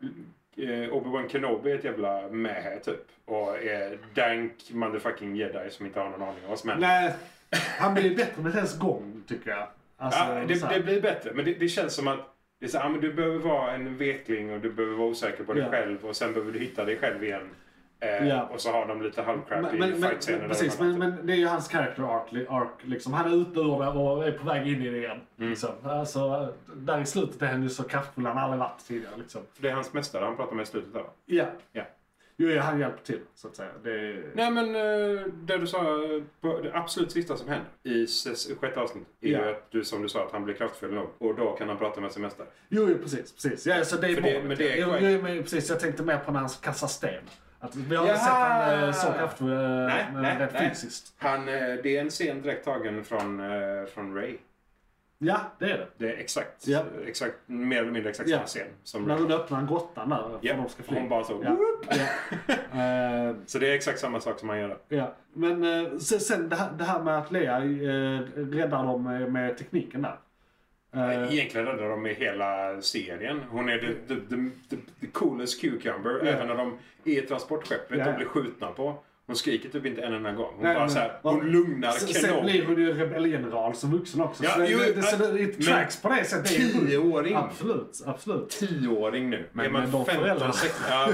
eh, Obi-Wan Kenobi är ett jävla mähä typ. Och är dank motherfucking jedi som inte har någon aning om vad som händer.
Nej, han blir bättre med hennes gång, tycker jag. Alltså,
Ja,
så
det,
här.
det blir bättre, men det, det känns som att det är så, här, ja, men du behöver vara en vetling och du behöver vara osäker på dig
Ja.
själv och sen behöver du hitta dig själv igen. Eh,
Ja.
Och så har de lite halvcrappy
Men, men, men,
fightscener. där
precis,
de har
men, men det är ju hans character arc, li- arc liksom. Han är ute ur det och är på väg in i det igen.
Mm.
Liksom. Alltså, där i slutet är han ju så kraftfull han aldrig varit tidigare. Liksom.
Det är hans mästare han pratar med i slutet där va?
Ja.
Ja.
Jo, ja, han hjälper till så att säga. Det är...
Nej men eh, det du sa, eh, på det absolut sista som händer i ses- sjätte avsnittet är
Ja.
ju att du som du sa att han blir kraftfull nog och då kan han prata med sin mästare.
Jo, jo, precis. precis. Ja, så det är
För det-
målet,
men det är
ja.
korrekt.
jo, jo, men precis, jag tänkte mer på när han kastar sten. Att vi har
Jaha!
inte sett han eh, så kraftfull eh,
Nej, nej,
rent
nej.
fysiskt.
Han, eh, det är en scen direkt tagen från, eh, från Ray.
Ja, det är det.
Det är exakt,
Ja.
exakt mer eller mindre exakt
Ja.
samma scen som
När
Ray.
hon öppnar grottan där för
Ja,
de ska fly.
hon bara så...
Ja. Ja. Eh,
Så det är exakt samma sak som han gör.
Ja, men eh, sen, sen det, här, det här med att Lea eh, räddar dem med, med tekniken där. Eh,
Egentligen räddar de med hela serien. Hon är the, the, the, the, the coolest cucumber. Även när de är i transportskeppet
Ja,
och
ja.
blir skjutna på. Hon skriker typ inte en enda gång. Hon
nej,
bara
men-
så här,
ja,
hon lugnar
sen- Sen
Kenobi.
blir hon ju rebellgeneral som vuxen också.
Ja,
så det,
jo,
det, det, så
men-
det, det tracks på det sättet. Det är ju sjukt.
Tioåring.
Absolut, absolut.
Tioåring nu.
Men-
är man
men de
15,
föräldrarna. (laughs)
16? Ja.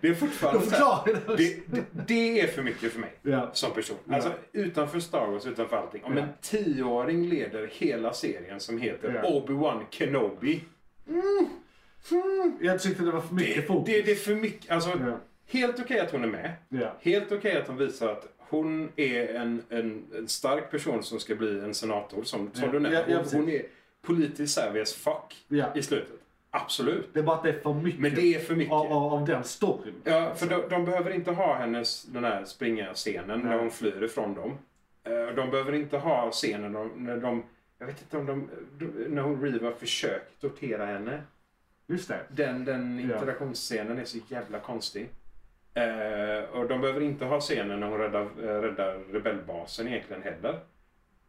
Det är fortfarande
De
så här,
förklarar det.
det, det, det är för mycket för mig.
Ja.
Som person. Alltså utanför Star Wars, utanför allting. Om en tioåring leder hela serien som heter
Ja.
Obi-Wan Kenobi.
hmm, jag tyckte det var för mycket
Det,
fokus.
det, det är för mycket. Alltså,
Ja.
Helt okej att hon är med.
Ja.
Helt okej att hon visar att hon är en, en, en stark person som ska bli en senator. Som, som
Ja,
du nämnde.
ja, ja,
Hon- hon är politiskt savvy as fuck
Ja.
i slutet. Absolut.
Det är bara att det är för mycket,
Men det är för mycket.
Av, av, av den storyn.
Ja, för de, de behöver inte ha hennes, den här springa-scenen när
Nej.
hon flyr ifrån dem. Eh, De behöver inte ha scenen om- när de... Jag vet inte om de... de- När hon Riva försöker tortera henne.
Just det.
Den, den
Ja.
interaktionsscenen är så jävla konstig. Eh, och de behöver inte ha scenen när hon räddar, eh, räddar rebellbasen egentligen heller.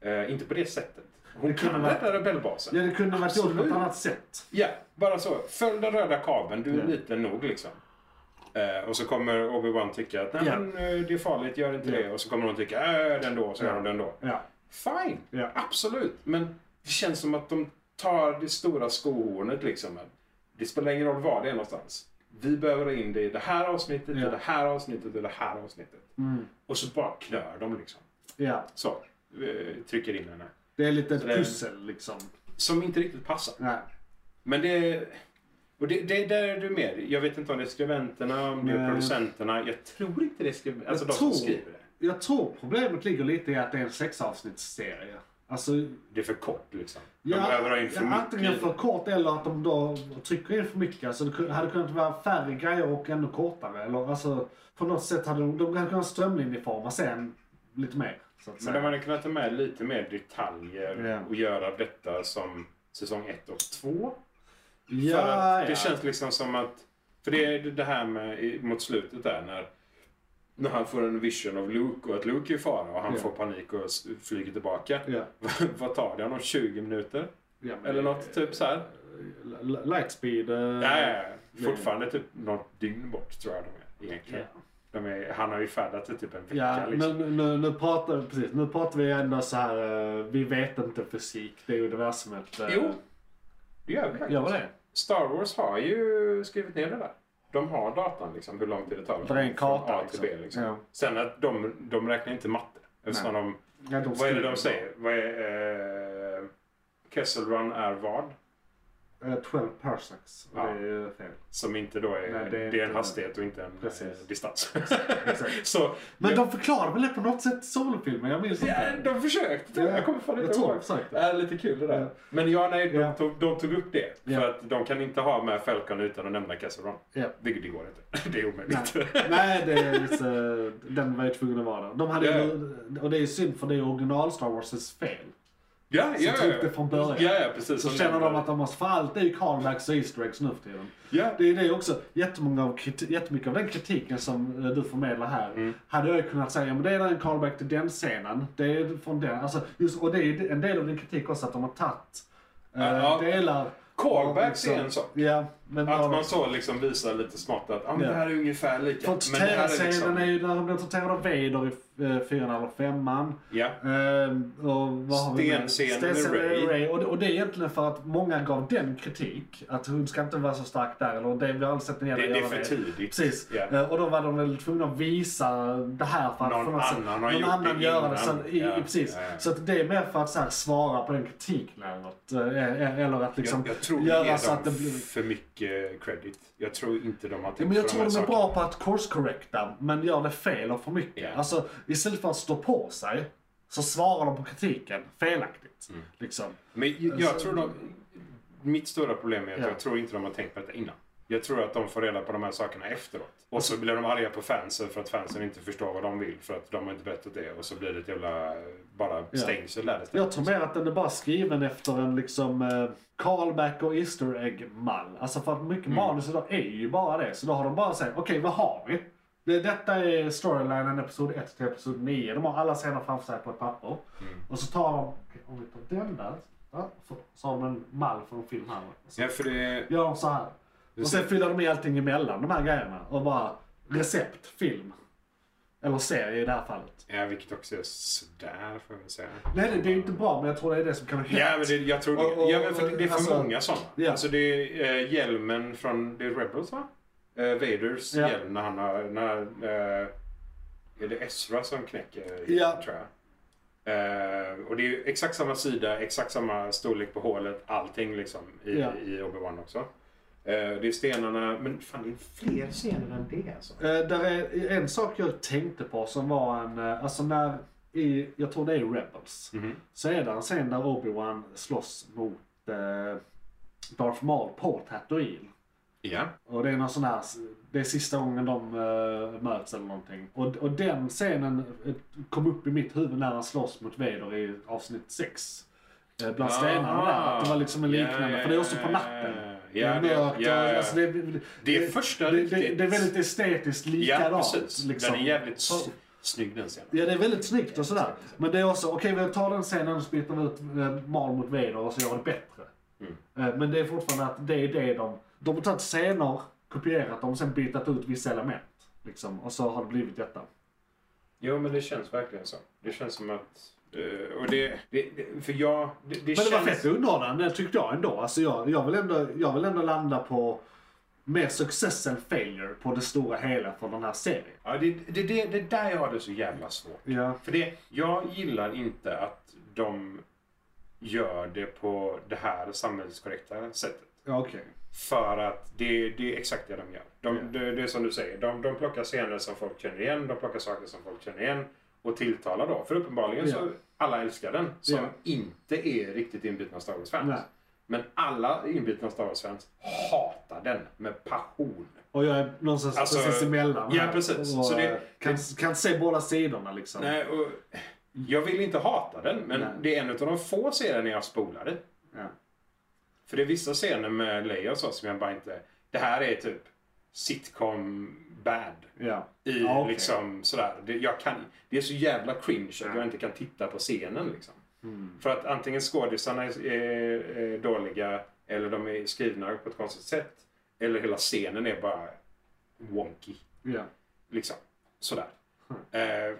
Eh, inte på det sättet. Hon
Det kunde
kan
vara-
rädda rebellbasen.
Ja, det kunde varit gjort på ett
Absolut.
annat sätt.
Ja, bara så. Följ den röda kabeln, du är
Ja.
liten nog liksom. Eh, och så kommer Obi-Wan tycka att nej
Ja.
men eh, det är farligt, gör inte
Ja.
det. Och så kommer hon tycka äh, den då, så
Ja.
gör hon den då.
Ja.
Fine,
Ja.
absolut. Men det känns som att de tar det stora skohornet liksom. Det spelar ingen roll var det är någonstans. Vi behöver ha in det i det här avsnittet,
Ja.
i det här avsnittet och det här avsnittet.
Mm.
Och så bara knör de liksom.
ja.
Så, eh, trycker in henne.
Det är lite ett
Så det-
pussel liksom.
Som inte riktigt passar.
Nej.
Men det... Och det, det där är du med. Jag vet inte om det är skribenterna, om det är
Nej.
producenterna. Jag tror inte det är skribenterna. Alltså de
Jag
som
tror-
skriver det.
Jag tror problemet ligger lite i att det är en sexavsnittsserie. Alltså,
Det är för kort liksom. De
Ja,
behöver ha in för
ja, Antingen
mycket.
för kort eller att de då trycker in för mycket. Alltså det ku- hade kunnat vara färre grejer och ännu kortare. Eller, alltså, på något sätt hade de, de hade kunnat strömlinjeforma sen lite mer. Så att
Men de
säga.
hade kunnat ta med lite mer detaljer
Ja.
och göra detta som säsong ett och två.
Ja,
för att det
ja.
känns liksom som att... För det är det här med i- mot slutet där när, när han får en vision av Luke och att Luke är i fara och han
Ja.
får panik och s- flyger tillbaka.
Ja.
(laughs) Vad tar det honom? 20 minuter?
Ja, men-
Eller något typ så här.
L- l- Lightspeed. eh,
Nej, fortfarande typ något dygn bort tror jag de är egentligen. De är, han har ju färdat det typ en vecka.
Ja,
liksom.
men nu, nu, pratar, precis, nu pratar vi ändå så här, eh, vi vet inte fysik, det är universumet. eh,
Jo, det gör vi faktiskt.
Gör vi det?
Star Wars har ju skrivit ner det där. De har datan, liksom, hur lång tid det tar.
Det är en karta,
Från A till
liksom.
B. Liksom.
Ja.
Sen att de, de räknar inte matte. Eftersom de,
Ja, de
vad är det
skriver.
de säger? Vad är, eh, Kessel Run är vad?
Eh, 12 parsecs. och
Ja.
Det är ju fel.
Som inte då är,
Nej, det
det är,
är
en
inte-
hastighet och inte en
Precis.
eh, distans.
(laughs) Exakt.
(laughs) Så,
Men
jag-
de förklarar väl det på något sätt i solofilmen? Jag minns
Ja,
inte.
de försökte.
Ja,
jag kommer fan
jag
inte
tror
ihåg.
de försökte.
Det är lite kul det där.
Ja.
Men ja, nej, de,
Ja.
tog, de tog upp det.
Ja.
För att de kan inte ha med Falcon utan att nämna Casseron.
Ja.
(laughs) Det, det går inte. Det är
Nej.
omöjligt.
Nej, det är lite, den var ju tvungen att vara där. De hade ju, och det är ju synd för det är original Star Wars fel.
(laughs) Ja,
Så
ja,
tog det från början.
Ja, ja, precis.
Så
Som
känner de
nämner-
att de måste, för allt är ju callbacks och Easter eggs nu för tiden.
Ja,
Det är det också, jättemånga av kriti- jättemycket av den kritiken som eh, du förmedlar här
Mm.
hade jag ju kunnat säga, ja, men det är en callback till den scenen. Det är från den, alltså, just, och det är ju en del av din kritik också att de har tagit eh,
Ja, ja.
delar. liksom.
Callbacks är en sak.
Ja, men
Att man så liksom visar lite smått att ah, men
Ja.
det här är ungefär lika.
För
men det här liksom-
torterscenen är ju när han blir torterad av Vader i eh, fyran eller femman.
Ja.
Ehm, och vad har vi med?
Stenscenen med
Stenscenen med
Rey.
Rey. Och, det- och det är egentligen för att många gav den kritik. Att hon ska inte vara så stark där. Eller det vi har aldrig sett henne
Det, det är
göra
för tidigt.
Precis.
Ja.
Eh, Och då var de väl tvungna att visa det här för att
Någon
för något sätt-
annan har
någon
gjort
annan
det
göra
innan.
det. Så, i,
Ja,
i, precis.
ja, ja.
Så att det är mer för att så här, svara på den kritiken eller något. Eh, eh, Eller att liksom
jag, jag tror det
göra
ger
så att det
dem
blir...
för mycket credit. Jag tror inte Typ de har tänkt
Ja, men jag
på
tror de är
sakerna.
bra på att course-correcta, men gör det fel och för mycket.
Ja.
Alltså, istället för att stå på sig, så svarar de på kritiken felaktigt.
Mm.
Liksom.
Men j- jag
Alltså-
tror de... Mitt stora problem är att
Ja.
jag tror inte de har tänkt på detta innan. Jag tror att de får reda på de här sakerna efteråt. Och så blir de arga på fansen för att fansen inte förstår vad de vill för att de har inte berättat det. Och så blir det ett jävla bara
Ja.
stängsel där istället.
Jag tror mer att den är bara skriven efter en liksom eh, callback och easter egg-mall. Alltså för att
Mm.
mycket manus idag är ju bara det. Så då har de bara sagt, okej vad har vi? Det, detta är storylinen episod 1 till episod 9. De har alla scener framför sig på ett papper.
Mm.
Och så tar de, okej, om vi tar den där. Ja, så- så har de en mall för en film här. Så
Ja, för det...
gör de så här. Och sen fyller de i allting emellan de här grejerna. Och bara recept, film. Eller serie i det här fallet.
Ja, vilket också är sådär får jag väl säga.
Nej, det, det är ju inte bra men jag tror det är det som kan ha hänt.
Ja, men det, jag tror det.
Och- och-
ja, men för det, det är för
alltså-
många sådana.
Ja.
Alltså det är eh, hjälmen från The Rebels va? Eh, Vaders
Ja.
hjälm när han har... När, eh, är det Ezra som knäcker hjälmen,
Ja.
tror jag. Eh, och det är ju exakt samma sida, exakt samma storlek på hålet, allting liksom i,
Ja.
i Obi-Wan också. Eh, Det är stenarna, men fan det är fler scener än det alltså.
Eh, där är en sak jag tänkte på som var en, eh, alltså när, i, jag tror det är i Rebels,
Mhm.
så är det en scen där Obi-Wan slåss mot eh, Darth Maul på Tatooine.
Ja.
Och det är någon sån här, det är sista gången de eh, möts eller någonting. Och, och den scenen eh, kom upp i mitt huvud när han slåss mot Vader i avsnitt 6. Eh, bland stenarna där. Att det var liksom en liknande, för det är också på natten.
Ah, Ja,
det är mörkt och-
ja, ja.
alltså det, det,
Det är första
det,
riktigt-
det, det är väldigt estetiskt
ja,
likadant.
precis.
liksom.
Den är jävligt s- snygg den scenen.
Ja, det är väldigt snyggt och sådär. Men det är också, okej vi tar den scenen och så byter vi ut eh, Mal mot Vader och så gör vi det bättre.
Mm.
Eh, Men det är fortfarande att det är det de... De har tagit scener, kopierat dem och sen bytt ut vissa element. Liksom, och så har det blivit detta.
Jo, men det känns verkligen så. Det känns som att... eh, och det, det, det, för jag... Det, det
Men det var
känns...
fett underhållande tyckte jag ändå. Alltså jag, jag, vill ändå jag vill ändå landa på mer success än failure på det stora hela för den här serien.
Ja, det, det, det, det där jag har det så jävla svårt.
Ja.
För det, jag gillar inte att de gör det på det här samhällskorrekta sättet.
Ja, okej.
För att det, det är exakt det de gör. De, det, det är som du säger, de, de plockar scener som folk känner igen, de plockar saker som folk känner igen och tilltalar då. För uppenbarligen
Ja.
så alla älskar den som
Ja.
inte är riktigt inbitna Star Wars-fans.
Nej.
Men alla inbitna Star Wars-fans hatar den med passion.
Och jag är någonstans
Alltså,
precis emellan.
ja,
här
precis.
Och,
Så det-
eh, kan, kan se båda sidorna liksom.
Nej, och jag vill inte hata den, men
Nej.
det är en av de få scener jag spolade.
Ja.
För det är vissa scener med Leia och så som jag bara inte... Det här är typ sitcom bad.
Ja.
I
Ja, okej.
liksom sådär. Det, jag kan, det är så jävla cringe att
Ja.
jag inte kan titta på scenen liksom.
Mm.
För att antingen skådisarna är, är, är dåliga eller de är skrivna på ett konstigt sätt. Eller hela scenen är bara wonky.
Ja.
Liksom. Sådär.
Hmm.
Eh,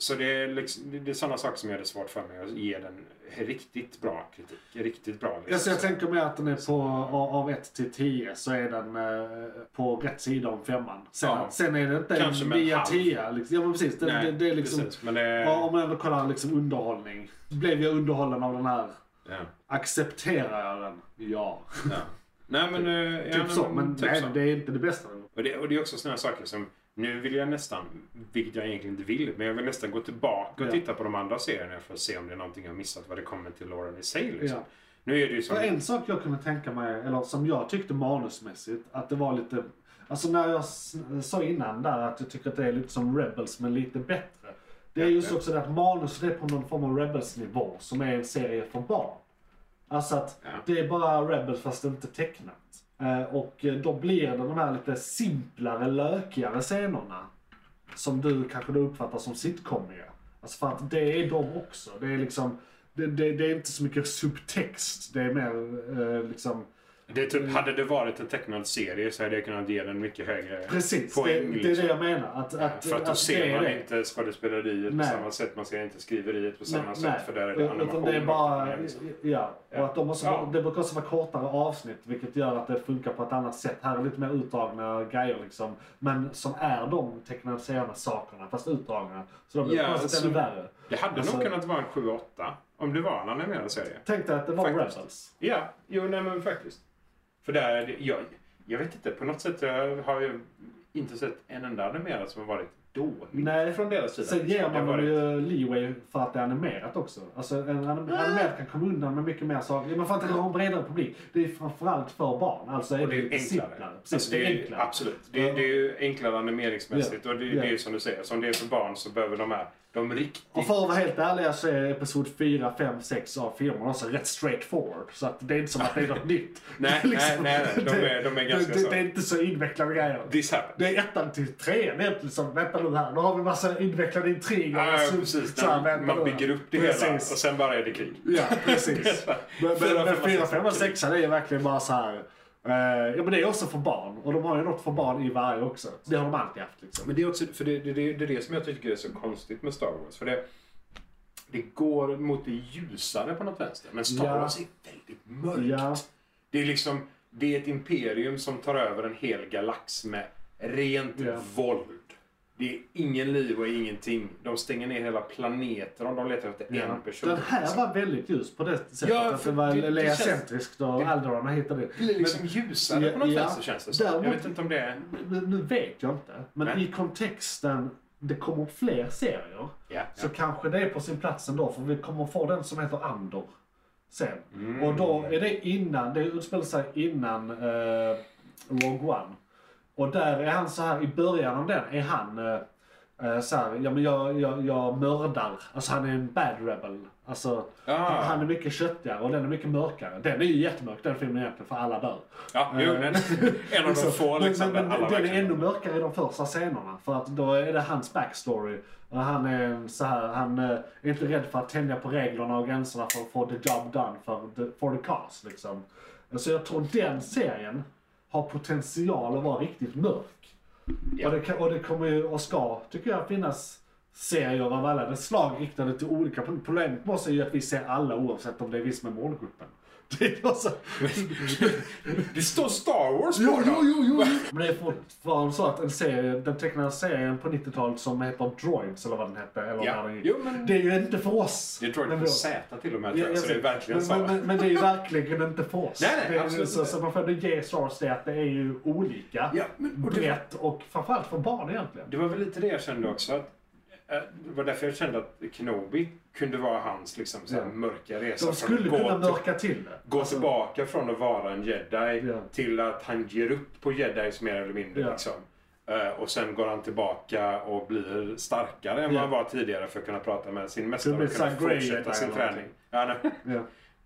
så det är, liksom, det- det är sådana saker som gör det svårt för mig att ge den riktigt bra kritik. Riktigt bra. Liksom.
Alltså jag tänker mig att den är på, av- av 1 till 10 så är den eh, på rätt sida om femman. Sen,
Ja.
sen är det inte
Kanske
en
med en
9
halv.
10 liksom. Ja men precis. Det,
Nej,
det, det är liksom,
precis, men eh, det-
ja, om man ändå kollar liksom underhållning. Blev jag underhållen av den här?
Ja.
Accepterar jag den? Ja.
Ja. Nej men... eh, ja,
typ
nej,
så. Men
typ
nej,
så.
det är inte det bästa.
Och det, och det är också sådana saker som, nu vill jag nästan, vilket jag egentligen inte vill, men jag vill nästan gå tillbaka och
Ja.
titta på de andra serierna för att se om det är någonting jag missat vad det kommer till Lauren i sig. Liksom.
Ja.
Nu är det ju
Det var
som...
en sak jag kunde tänka mig, eller som jag tyckte manusmässigt, att det var lite... Alltså när jag s- sa innan där att jag tycker att det är lite som Rebels men lite bättre. Det är just också det att manus är på någon form av Rebels-nivå som är en serie för barn. Alltså att
Ja.
det är bara Rebels fast inte tecknat. Eh, Och eh, då blir det de här lite simplare, lökigare scenerna. Som du kanske då uppfattar som sitcomiga. Alltså för att det är de också. Det är liksom, det, det, det är inte så mycket subtext. Det är mer eh, liksom,
Det är typ, hade det varit en tecknad serie så hade jag kunnat ge den mycket högre
precis. det,
poäng.
det är
liksom.
det jag menar. Att, att,
För att då
att det
ser
är
man
det.
inte skådespeleriet på
Nej.
samma sätt, man ser inte skriveriet på samma
Nej,
sätt
nej.
för där är det animation.
Utan det är bara,
och liksom.
ja. Och att de måste,
Ja.
Det brukar också vara kortare avsnitt vilket gör att det funkar på ett annat sätt. Här är lite mer utdragna grejer liksom. Men som är de tecknade sakerna fast utdragna. Så de blir
Ja,
på något sätt ännu
alltså-
värre.
Det hade
Alltså-
nog kunnat vara en 7-8 om det var en animerad serie.
Tänk dig att det var
Faktiskt.
Rebels.
Ja, jo nej men faktiskt. För där, är det- jag, jag vet inte, på något sätt jag har jag inte sett en enda animerad som har varit dålig
Nej.
från deras sida.
Sen ger
Det Ah. har
man dem
varit-
ju leeway för att det är animerat också. Alltså en anim- animerad kan komma undan med mycket mer saker. Ja, Men för att det har en bredare publik. Det är framförallt för barn. Alltså är
Och det är
lite simplare.
enklare.
Precis,
Alltså,
det är
ju-
enklare.
Absolut. Det, är- det är ju enklare animeringsmässigt
Ja.
och det,
Ja.
det är ju som du säger, som det är för barn så behöver de här, de
Och
riktigt...
för att vara helt ärlig så är episod 4, 5, 6 av filmen också rätt straight forward. Så att det är inte som att det är
(laughs)
något nytt. Liksom. (laughs)
Nej, nej, nej, nej. De är- de är ganska
det,
så.
det är inte så invecklade grejer.
This happened.
Det är ettan till trean helt liksom. Vänta nu här, nu har vi massa invecklade intriger.
Ja, ja,
Så-
precis.
så här,
Där
vänta
man
nu här.
bygger upp det hela och
precis.
sen bara är det krig.
Ja, precis. men,
(laughs) Fyra,
men, men 4,
femma, sexa,
5 och
krig.
6 är ju verkligen bara så här. eh, ja men det är också för barn. Och de har ju något för barn i varje också. Det har de alltid haft liksom.
Men det är också, för det, det, det, det är det som jag tycker är så konstigt med Star Wars. För det, det går mot det ljusare på något vänster. Men Star
Ja.
Wars är väldigt mörkt.
Ja,
Det är liksom, det är ett imperium som tar över en hel galax med rent
Ja.
våld. Det är ingen liv och ingenting. De stänger ner hela planeter om de letar efter en person.
Den här var väldigt ljus på det sättet.
Ja,
att
för
det var
det- det
leacentriskt och Alderon hittade det.
blir liksom ljusare på något
Ja,
sätt så känns det som.
däremot-
Jag vet inte om det är...
Men, men nu vet jag inte. Men
Nej.
i kontexten, det kommer fler serier.
Ja,
Så kanske det är på sin plats ändå. För vi kommer få den som heter Andor. Sen.
Mm.
Och då är det innan, det utspelar sig innan eh, Rogue One. Och där är han så här i början av den är han eh, eh, så här, ja men jag, jag, jag mördar. Alltså han är en bad rebel. Alltså
Ah.
han, han är mycket köttigare och den är mycket mörkare. Den är ju jättemörk den filmen egentligen för alla dör.
Ja, jo, den, (laughs) en av de
Liksom,
få
Eh. men-
liksom,
men,
där alla
den är
verkligen-
ännu mörkare i de första scenerna. För att då är det hans backstory. Och han är en så här, han eh, är inte rädd för att tänja på reglerna och gränserna för att få the job done för the, for the cause. Liksom. Så jag tror den serien har potential att vara riktigt mörk.
Ja.
Och, det, kan- och det kommer ju, och ska, tycker jag, finnas serier av alla dess slag riktade till olika punkter. Problemet med oss är ju att vi ser alla oavsett om det är vi som är målgruppen. (laughs) Det är alltså,
Det står Star Wars på
Jo,
den.
jo, jo, jo. Men det är fortfarande så att en serie, den tecknade serien på 90-talet som heter Droids eller vad den hette. Eller
Ja.
när den gick.
Jo, men-
Det är ju inte för oss.
Det tror jag
Men
på
då-
Z till och med,
Ja,
tror jag,
jag
så det är
vet.
verkligen
men,
samma.
men, men det
(laughs)
är ju verkligen inte för oss.
Nej, nej,
det är,
absolut
så,
inte.
så man får ändå ge Star Wars det att det är ju olika.
Ja, men- och det-
brett och framförallt för barn egentligen.
Det var väl lite det jag kände också. Att, eh, det var därför jag kände att Kenobi kunde vara hans liksom, så här,
Ja.
mörka resa.
De
från
skulle
gå
kunna
till-
mörka till det.
Gå tillbaka från att vara en jedi
Ja.
till att han ger upp på jedis mer eller mindre.
Ja.
Liksom. Eh, och sen går han tillbaka och blir starkare
Ja.
än vad han var tidigare för att kunna prata med sin mästare
blir
och kunna
Sam Grey
fortsätta
Jedi
sin
eller
träning. Ja, nej.
Ja,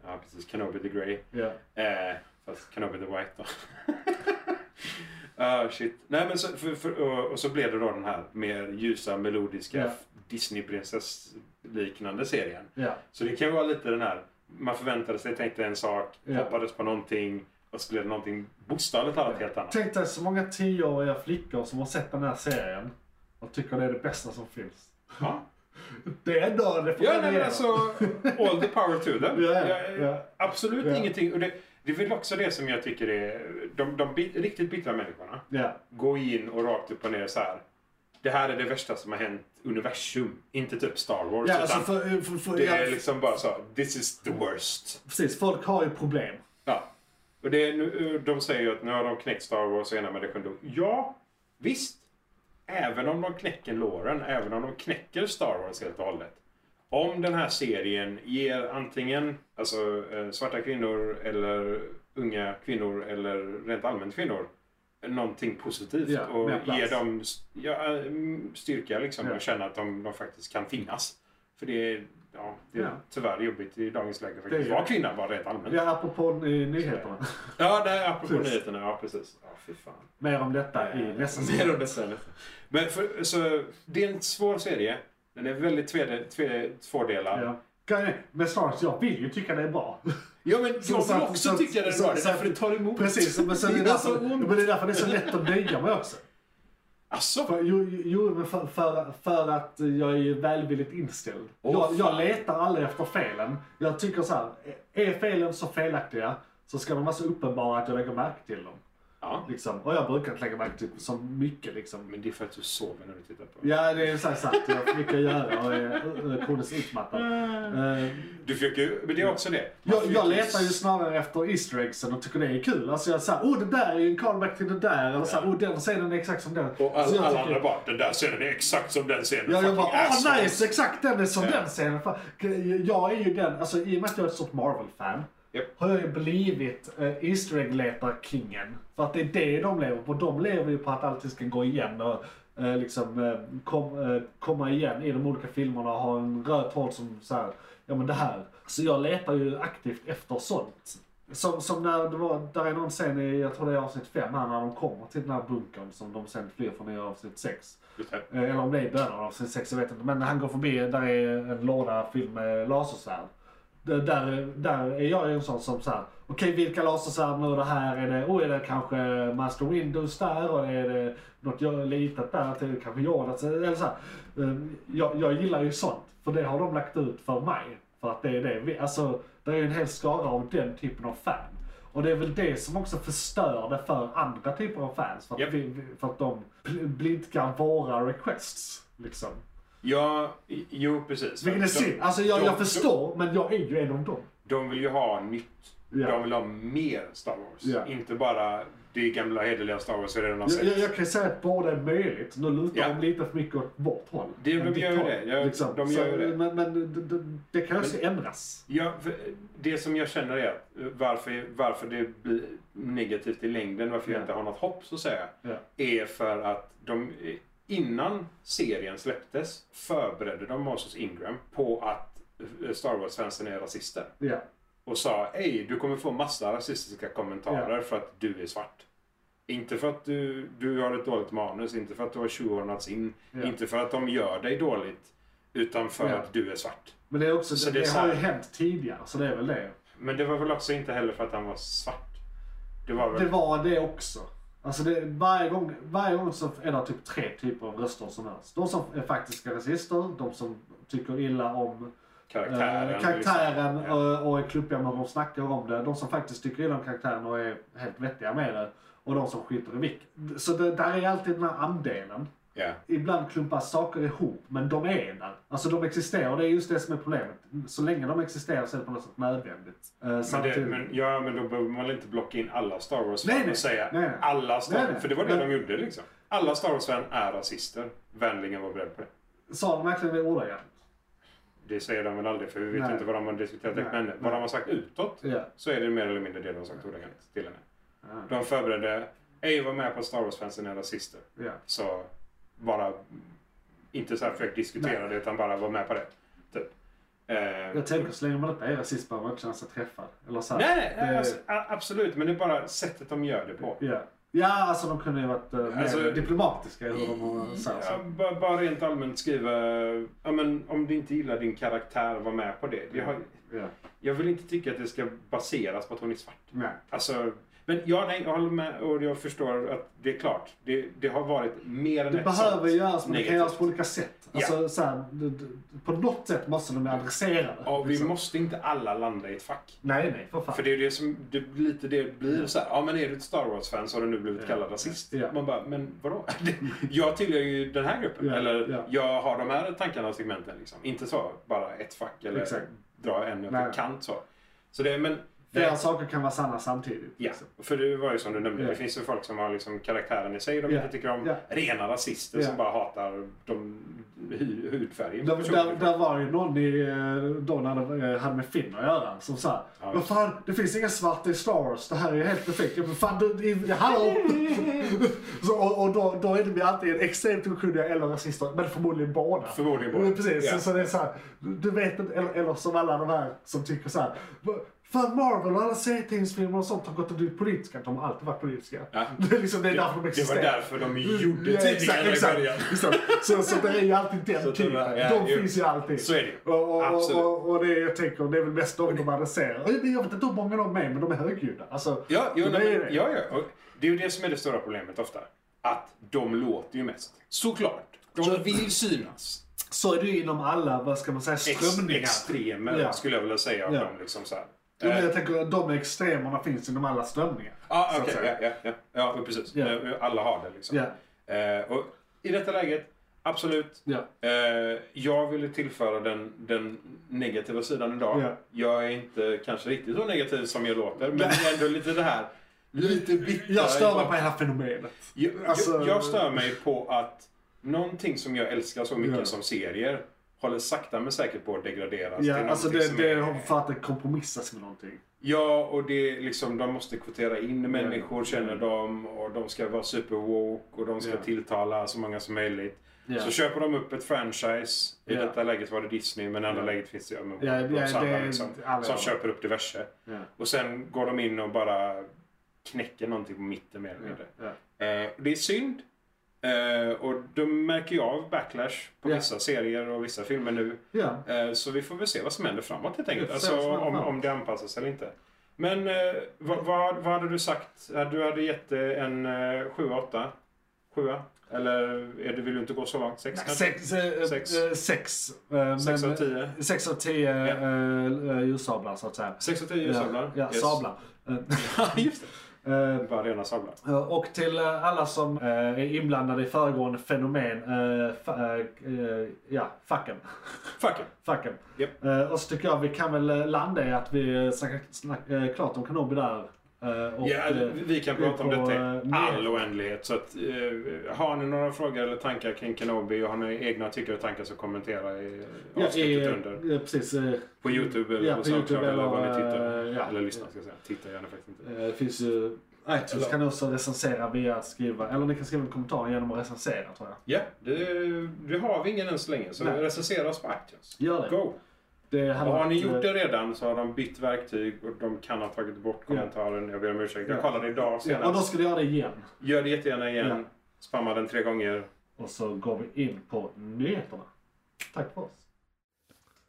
ja, precis. Kenobi the Grey.
ja.
Eh, fast Kenobi the White då. (laughs) Ah shit. Nej, men så, för, för, och, och så blev det då den här mer ljusa, melodiska
Ja.
Disney-prinsess-liknande serien.
ja.
Så det kan ju vara lite den här, man förväntade sig, tänkte en sak,
Ja.
hoppades på någonting och så blev det någonting bokstavligt talat helt annat.
Tänk dig så många tioåriga flickor som har sett den här serien och tycker det är det bästa som finns.
Ja,
Det är ändå det får
ja
man
nej, men
göra.
alltså all the power to them.
Ja,
Jag-
ja.
Absolut
Ja.
ingenting. Och det, det är väl också det som jag tycker är, de, de bit, riktigt bittra människorna.
(laughs) Ja,
gå in och rakt upp och ner så här. Det här är det värsta som har hänt universum. Inte typ Star Wars.
ja
utan
alltså för, för, för,
det
ja,
är liksom bara så. This is the worst.
precis. Folk har ju problem.
Ja. Och det är, nu- de säger ju att nu har de knäckt Star Wars och ena med det sjunde. Ja, visst. Även om de knäcker låren, även om de knäcker Star Wars helt och hållet. Om den här serien ger antingen alltså, eh, svarta kvinnor eller unga kvinnor eller rent allmänt kvinnor eh, någonting positivt
Ja,
och
mer plats.
ger dem s- ja, eh, mm, styrka liksom
Ja.
och känna att de, de faktiskt kan finnas. För det är, ja, det är
Ja.
tyvärr jobbigt i dagens läge
Det är
faktiskt.
det.
Var kvinna bara rent allmänt.
Ja, apropå ny-
(laughs)
nyheterna.
Ja, nej, apropå
Precis.
nyheterna. Ja, precis. Ja, fy fan.
Mer om detta i nästa säsong.
Mer om det sen. Men för, så, det är en svår serie. Den är väldigt tvede, tve, tvådelad. Ja.
Ja. Kan- Men snart, jag vill ju tycka det är bra.
men (laughs) jag
Så-
vill
så att-
också
så att-
tycka den är
så-
bra. Det är
så att-
därför det tar emot.
Precis, men, sen
(laughs) det
är
är
det alltså-
så
därför,
ont.
men det är därför det är så lätt att nöja mig också.
Alltså,
För, jo, jo, men för, för, för att jag är ju välvilligt inställd.
Åh,
jag, jag
fan.
letar aldrig efter felen. Jag tycker så här, är felen så felaktiga så ska de vara så uppenbara att jag lägger märke till dem.
ja.
Liksom. Och jag brukar inte lägga märke till så mycket liksom.
Men det är för att du sover när du tittar på den.
Ja, det är så här sant. Jag har mycket att göra och är eh, kroniskt utmattad. Eh,
Du försöker, ju- men det är också det. Man
Jag, jag
försöker
letar ju snarare efter Easter eggsen och tycker det är kul. Alltså jag säger, oh det där är ju en callback till det där. Eller såhär, oh den scenen är exakt som den.
Och all,
Så jag
alla
tycker-
andra bara, den där scenen är exakt som den scenen.
Ja, jag
Fucking
bara, åh
assholes."
nice, exakt den är som
Ja.
den scenen. Fan, Jag är ju den, alltså i och med att jag är ett stort Marvel-fan.
Japp.
Har jag ju blivit eh, Easter egg-letar-kingen. För att det är det de lever på. De lever ju på att allting ska gå igen och eh, liksom eh, kom, eh, komma igen i de olika filmerna och ha en röd tråd som så här, ja men det här. Så jag letar ju aktivt efter sånt. Som, som när det var, där är någon scen i, jag tror det är avsnitt 5 här, när de kommer till den här bunkern som de sen flyr från i avsnitt 6.
Just det.
Eh, Eller om det är i början av avsnitt 6, jag vet inte. Men när han går förbi, där är en låda fylld med lasersvärd. D- Där, där är jag ju en sån som såhär, okej vilka lasersvärd nu är det här? Är det, oh, är det kanske Master Windows där? Och är det något jag litat där? Till, kanske Yoda? Så- Eller så här. Eh, Jag, jag gillar ju sånt, för det har de lagt ut för mig. För att det är det, vi, alltså det är ju en hel skara av den typen av fan. Och det är väl det som också förstör det för andra typer av fans. För att,
Japp.
vi, vi- för att de bl- blidkar våra requests. Liksom.
Ja, i- jo precis.
Vilket är
De-
synd. Alltså jag,
de-
jag förstår, men jag är ju en av dem.
De vill ju ha nytt.
Ja.
De vill ha mer Star Wars.
Ja.
Inte bara det gamla hederliga Star Wars vi redan har
Jag,
sett.
jag, jag kan ju säga att båda är möjligt. Nu lutar
Alltså, Ja.
de lite för mycket åt vårt håll.
Det-
Än
de
ditt
gör ju
håll, liksom.
det. Jag- de gör ju det.
Men, men det, det, det kan också ändras.
Ja, för det som jag känner är att varför, varför det blir negativt i längden, varför
Ja.
jag inte har något hopp så att säga,
Ja.
är för att de eh, innan serien släpptes förberedde de Moses Ingram på att eh, Star Wars-fansen är rasister.
Ja.
Och sa ej, du kommer få massa rasistiska kommentarer för att du är svart. Inte för att du, du har ett dåligt manus, inte för att du har tjuvordnats in,
Ja.
inte för att de gör dig dåligt, utan för
Ja.
att du är svart.
Men det, är också,
Så
det,
det är
det
så
har ju
här-
hänt tidigare, så det är väl det.
Men det var väl också inte heller för att han var svart. Det var väl...
Det var det också. Alltså det, varje, gång, varje gång så är det typ tre typer av röster som hörs. De som är faktiska rasister, de som tycker illa om eh,
karaktären.
karaktären
liksom. Ja.
eh, och är klumpiga med hur de snackar om det. De som faktiskt tycker illa om karaktären och är helt vettiga med det. Och de som skiter i vilket. Så det, där är alltid den här andelen.
Ja.
Ibland klumpas saker ihop, men de är där. Alltså de existerar, och det är just det som är problemet. Så länge de existerar så är det på något sätt nödvändigt. Eh,
Men, det,
samtidigt-
men, ja, men då behöver man inte blocka in alla Star
Nej,
Wars-fan
nej.
och säga
Nej, nej.
alla Star
Nej, nej.
För det var det
Men-
de gjorde liksom. Alla Star Wars-fan är rasister. Vänligen var beredd på det.
Sa de verkligen det ordagrant?
Det säger de väl aldrig för vi vet
Nej.
ju inte vad de har diskuterat.
Nej,
Men
nej.
vad de har sagt utåt
Ja.
så är det mer eller mindre det de har sagt ordagrant till henne.
Ja.
De förberedde, ej var med på att Star Wars-fansen är rasister.
Ja.
Så bara, inte så här försök diskutera
Nej.
det utan bara var med på det. Typ. Eh,
Jag tänker så länge man inte är rasist behöver man inte känna sig träffad. Eller så här,
Nej, nej
det-
alltså, a- absolut. Men det är bara sättet de gör det på.
Ja. ja, alltså de kunde ju varit eh, mer
Alltså-
diplomatiska i hur de har så här,
Ja,
så.
bara, bara rent allmänt skriva, ja, men, om du inte gillar din karaktär, var med på det. Jag, har,
Ja.
jag vill inte tycka att det ska baseras på att hon är svart.
Nej.
Alltså, men ja, nej, jag håller med och jag förstår att det är klart. Det, det har varit mer än
Det
ett
behöver
sånt
göras, men det kan
negativt.
göras på olika sätt. Alltså, så här, d- d- på något sätt måste de adressera det.
Ja, vi
liksom.
måste inte alla landa i ett fack.
Nej, nej, för fan.
För det är det som, det, blir lite det det blir så här, ja men är du ett Star Wars-fan så har du nu blivit
Ja.
kallad rasist.
Ja.
Man bara, men vadå? (laughs) jag tillhör ju den här gruppen.
Ja,
Eller
ja.
jag har de här tankarna och segmenten liksom. Inte så, bara ett fack eller
Exakt.
dra en
Nej. alltså
över kant så. Så det, men...
Flera
det-
saker kan vara sanna samtidigt.
Ja,
liksom.
för det var ju som du nämnde,
Ja.
det finns ju folk som har liksom karaktären i sig de
Ja.
inte tycker om.
Ja.
Rena rasister
Ja.
som bara hatar de hu- hudfärgen. på
Där, där,
personer.
där var ju någon i, eh, då när det eh, hade med Finn att göra som sa
Ja,
Vad fan, det finns inga svarta i Star Wars. Det här är ju helt perfekt. Jag bara, fan, det, det, det handlar
(laughs)
om... Så, och och då, då är de ju antingen extremt okunniga eller rasister. Men förmodligen båda.
Förmodligen båda.
Mm, Precis.
Ja.
Så, så det är så här, du du vet inte, eller, eller som alla de här som tycker så här. "Va- Fan Marvel och alla serietidningsfilmer och sånt har gått och blivit politiska. De har alltid varit politiska.
Ja.
(laughs) Det är liksom det är därför de
det var
existerar.
därför de gjorde
Ja,
tidningarna i
exakt,
början. (laughs)
exakt. Så, så det är ju alltid den
Så att de
typen.
bara, ja,
de
jo.
finns ju alltid.
Så är det ju.
Och, och,
Absolut.
och, och det jag tänker, det är väl mest de de adresserar. Jag vet inte hur många de är, men de är högljudda. Alltså,
Ja, jo,
det
nej,
är
men, ja, ja. Och det är ju det som är det stora problemet ofta. Att de låter ju mest. Såklart. De
Så-
vill synas.
Så är det ju inom alla, vad ska man säga,
Ex-
strömningar.
Extremer
Ja.
skulle jag vilja säga. av
Ja.
dem liksom så här.
Jo, men
Eh,
jag tänker att de extremerna finns inom alla strömningar.
Ja,
så att
Ah, okej.
säga.
ja, ja, ja. ja, men precis.
Ja.
Eh, Alla har det liksom.
Ja.
Eh, och I detta läget, absolut.
Ja.
Eh, jag ville tillföra den, den negativa sidan idag.
Ja.
Jag är inte kanske riktigt så negativ som jag låter, men det är ändå lite det här. Lite bitter.
Jag stör mig på hela fenomenet.
Jag,
Alltså-
jag, jag stör mig på att någonting som jag älskar så mycket
Ja.
som serier håller sakta men säkert på att degraderas
Ja, alltså
någonting
det,
som
det
är-
har för att det kompromissas med någonting.
Ja, och det är liksom, de måste kvotera in människor, känner de, och de ska vara superwoke och de ska
Ja.
tilltala så många som möjligt.
Ja.
Så köper de upp ett franchise. I
Ja.
detta läget var det Disney, men i andra läget finns det ju men,
Ja, ja,
Rosanna,
det-
liksom,
alla-
som köper upp diverse.
Ja.
Och sen går de in och bara knäcker någonting på mitten mer eller mindre.
Ja.
Eh, det är synd. Eh, och de märker ju av backlash på
Ja.
vissa serier och vissa filmer nu.
Ja.
Eh, så vi får väl se vad som händer framåt helt enkelt.
Vi får se vad som
Alltså,
händer
om,
framåt.
om det anpassas eller inte. Men eh, vad, vad, vad hade du sagt? Eh, Du hade gett det en eh, 7-8? 7 Eller är det, vill du inte gå så långt? 6
Nej,
kanske?
Sex, eh,
Sex.
eh, sex. Eh,
Sex
men-
av tio.
sex av tio
Ja.
eh, eh, ljussablar så att säga.
6 av 10 sablar? (laughs)
Ja, ja, sablar.
Just
Eh,
det. Bara rena sablar.
Eh, Och till eh, alla som eh, är inblandade i föregående fenomen, eh, fa- eh, eh, ja, facken. (laughs)
Fuck it.
facken.
Japp.
Eh, Och så tycker jag vi kan väl eh, landa i att vi eh, snackar snack, eh, klart om Kenobi där. eh, Och,
Ja,
eh,
vi kan
vi
prata om
får,
detta
eh,
i
mer.
all oändlighet. Så att, eh, har ni några frågor eller tankar kring Kenobi och har ni egna tycker och tankar så kommentera i
ja,
avsnittet
i-
under.
eh, Precis. eh,
På Youtube eller
ja,
på
på YouTube
Soundcloud eller vad ni tittar.
eh, ja.
Eller lyssnar ska jag säga. Titta gärna faktiskt inte.
Eh, Det finns ju... iTunes
Eller-
kan också recensera via att skriva, eller ni kan skriva en kommentar genom att recensera tror jag.
Ja, det, det har vi ingen än så länge. Så
Nej.
recensera oss på iTunes.
Gör det.
Go!
det
Och
hade
har ni
varit, eh,
gjort det redan så har de bytt verktyg och de kan ha tagit bort kommentaren. Jag ber om ursäkt. Jag
Ja.
kollade idag
Ja, och då
senast.
ska du göra det igen.
Gör det jättegärna igen.
Ja.
Spamma den tre gånger.
Och så går vi in på nyheterna. Tack för oss.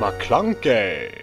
McClunkey.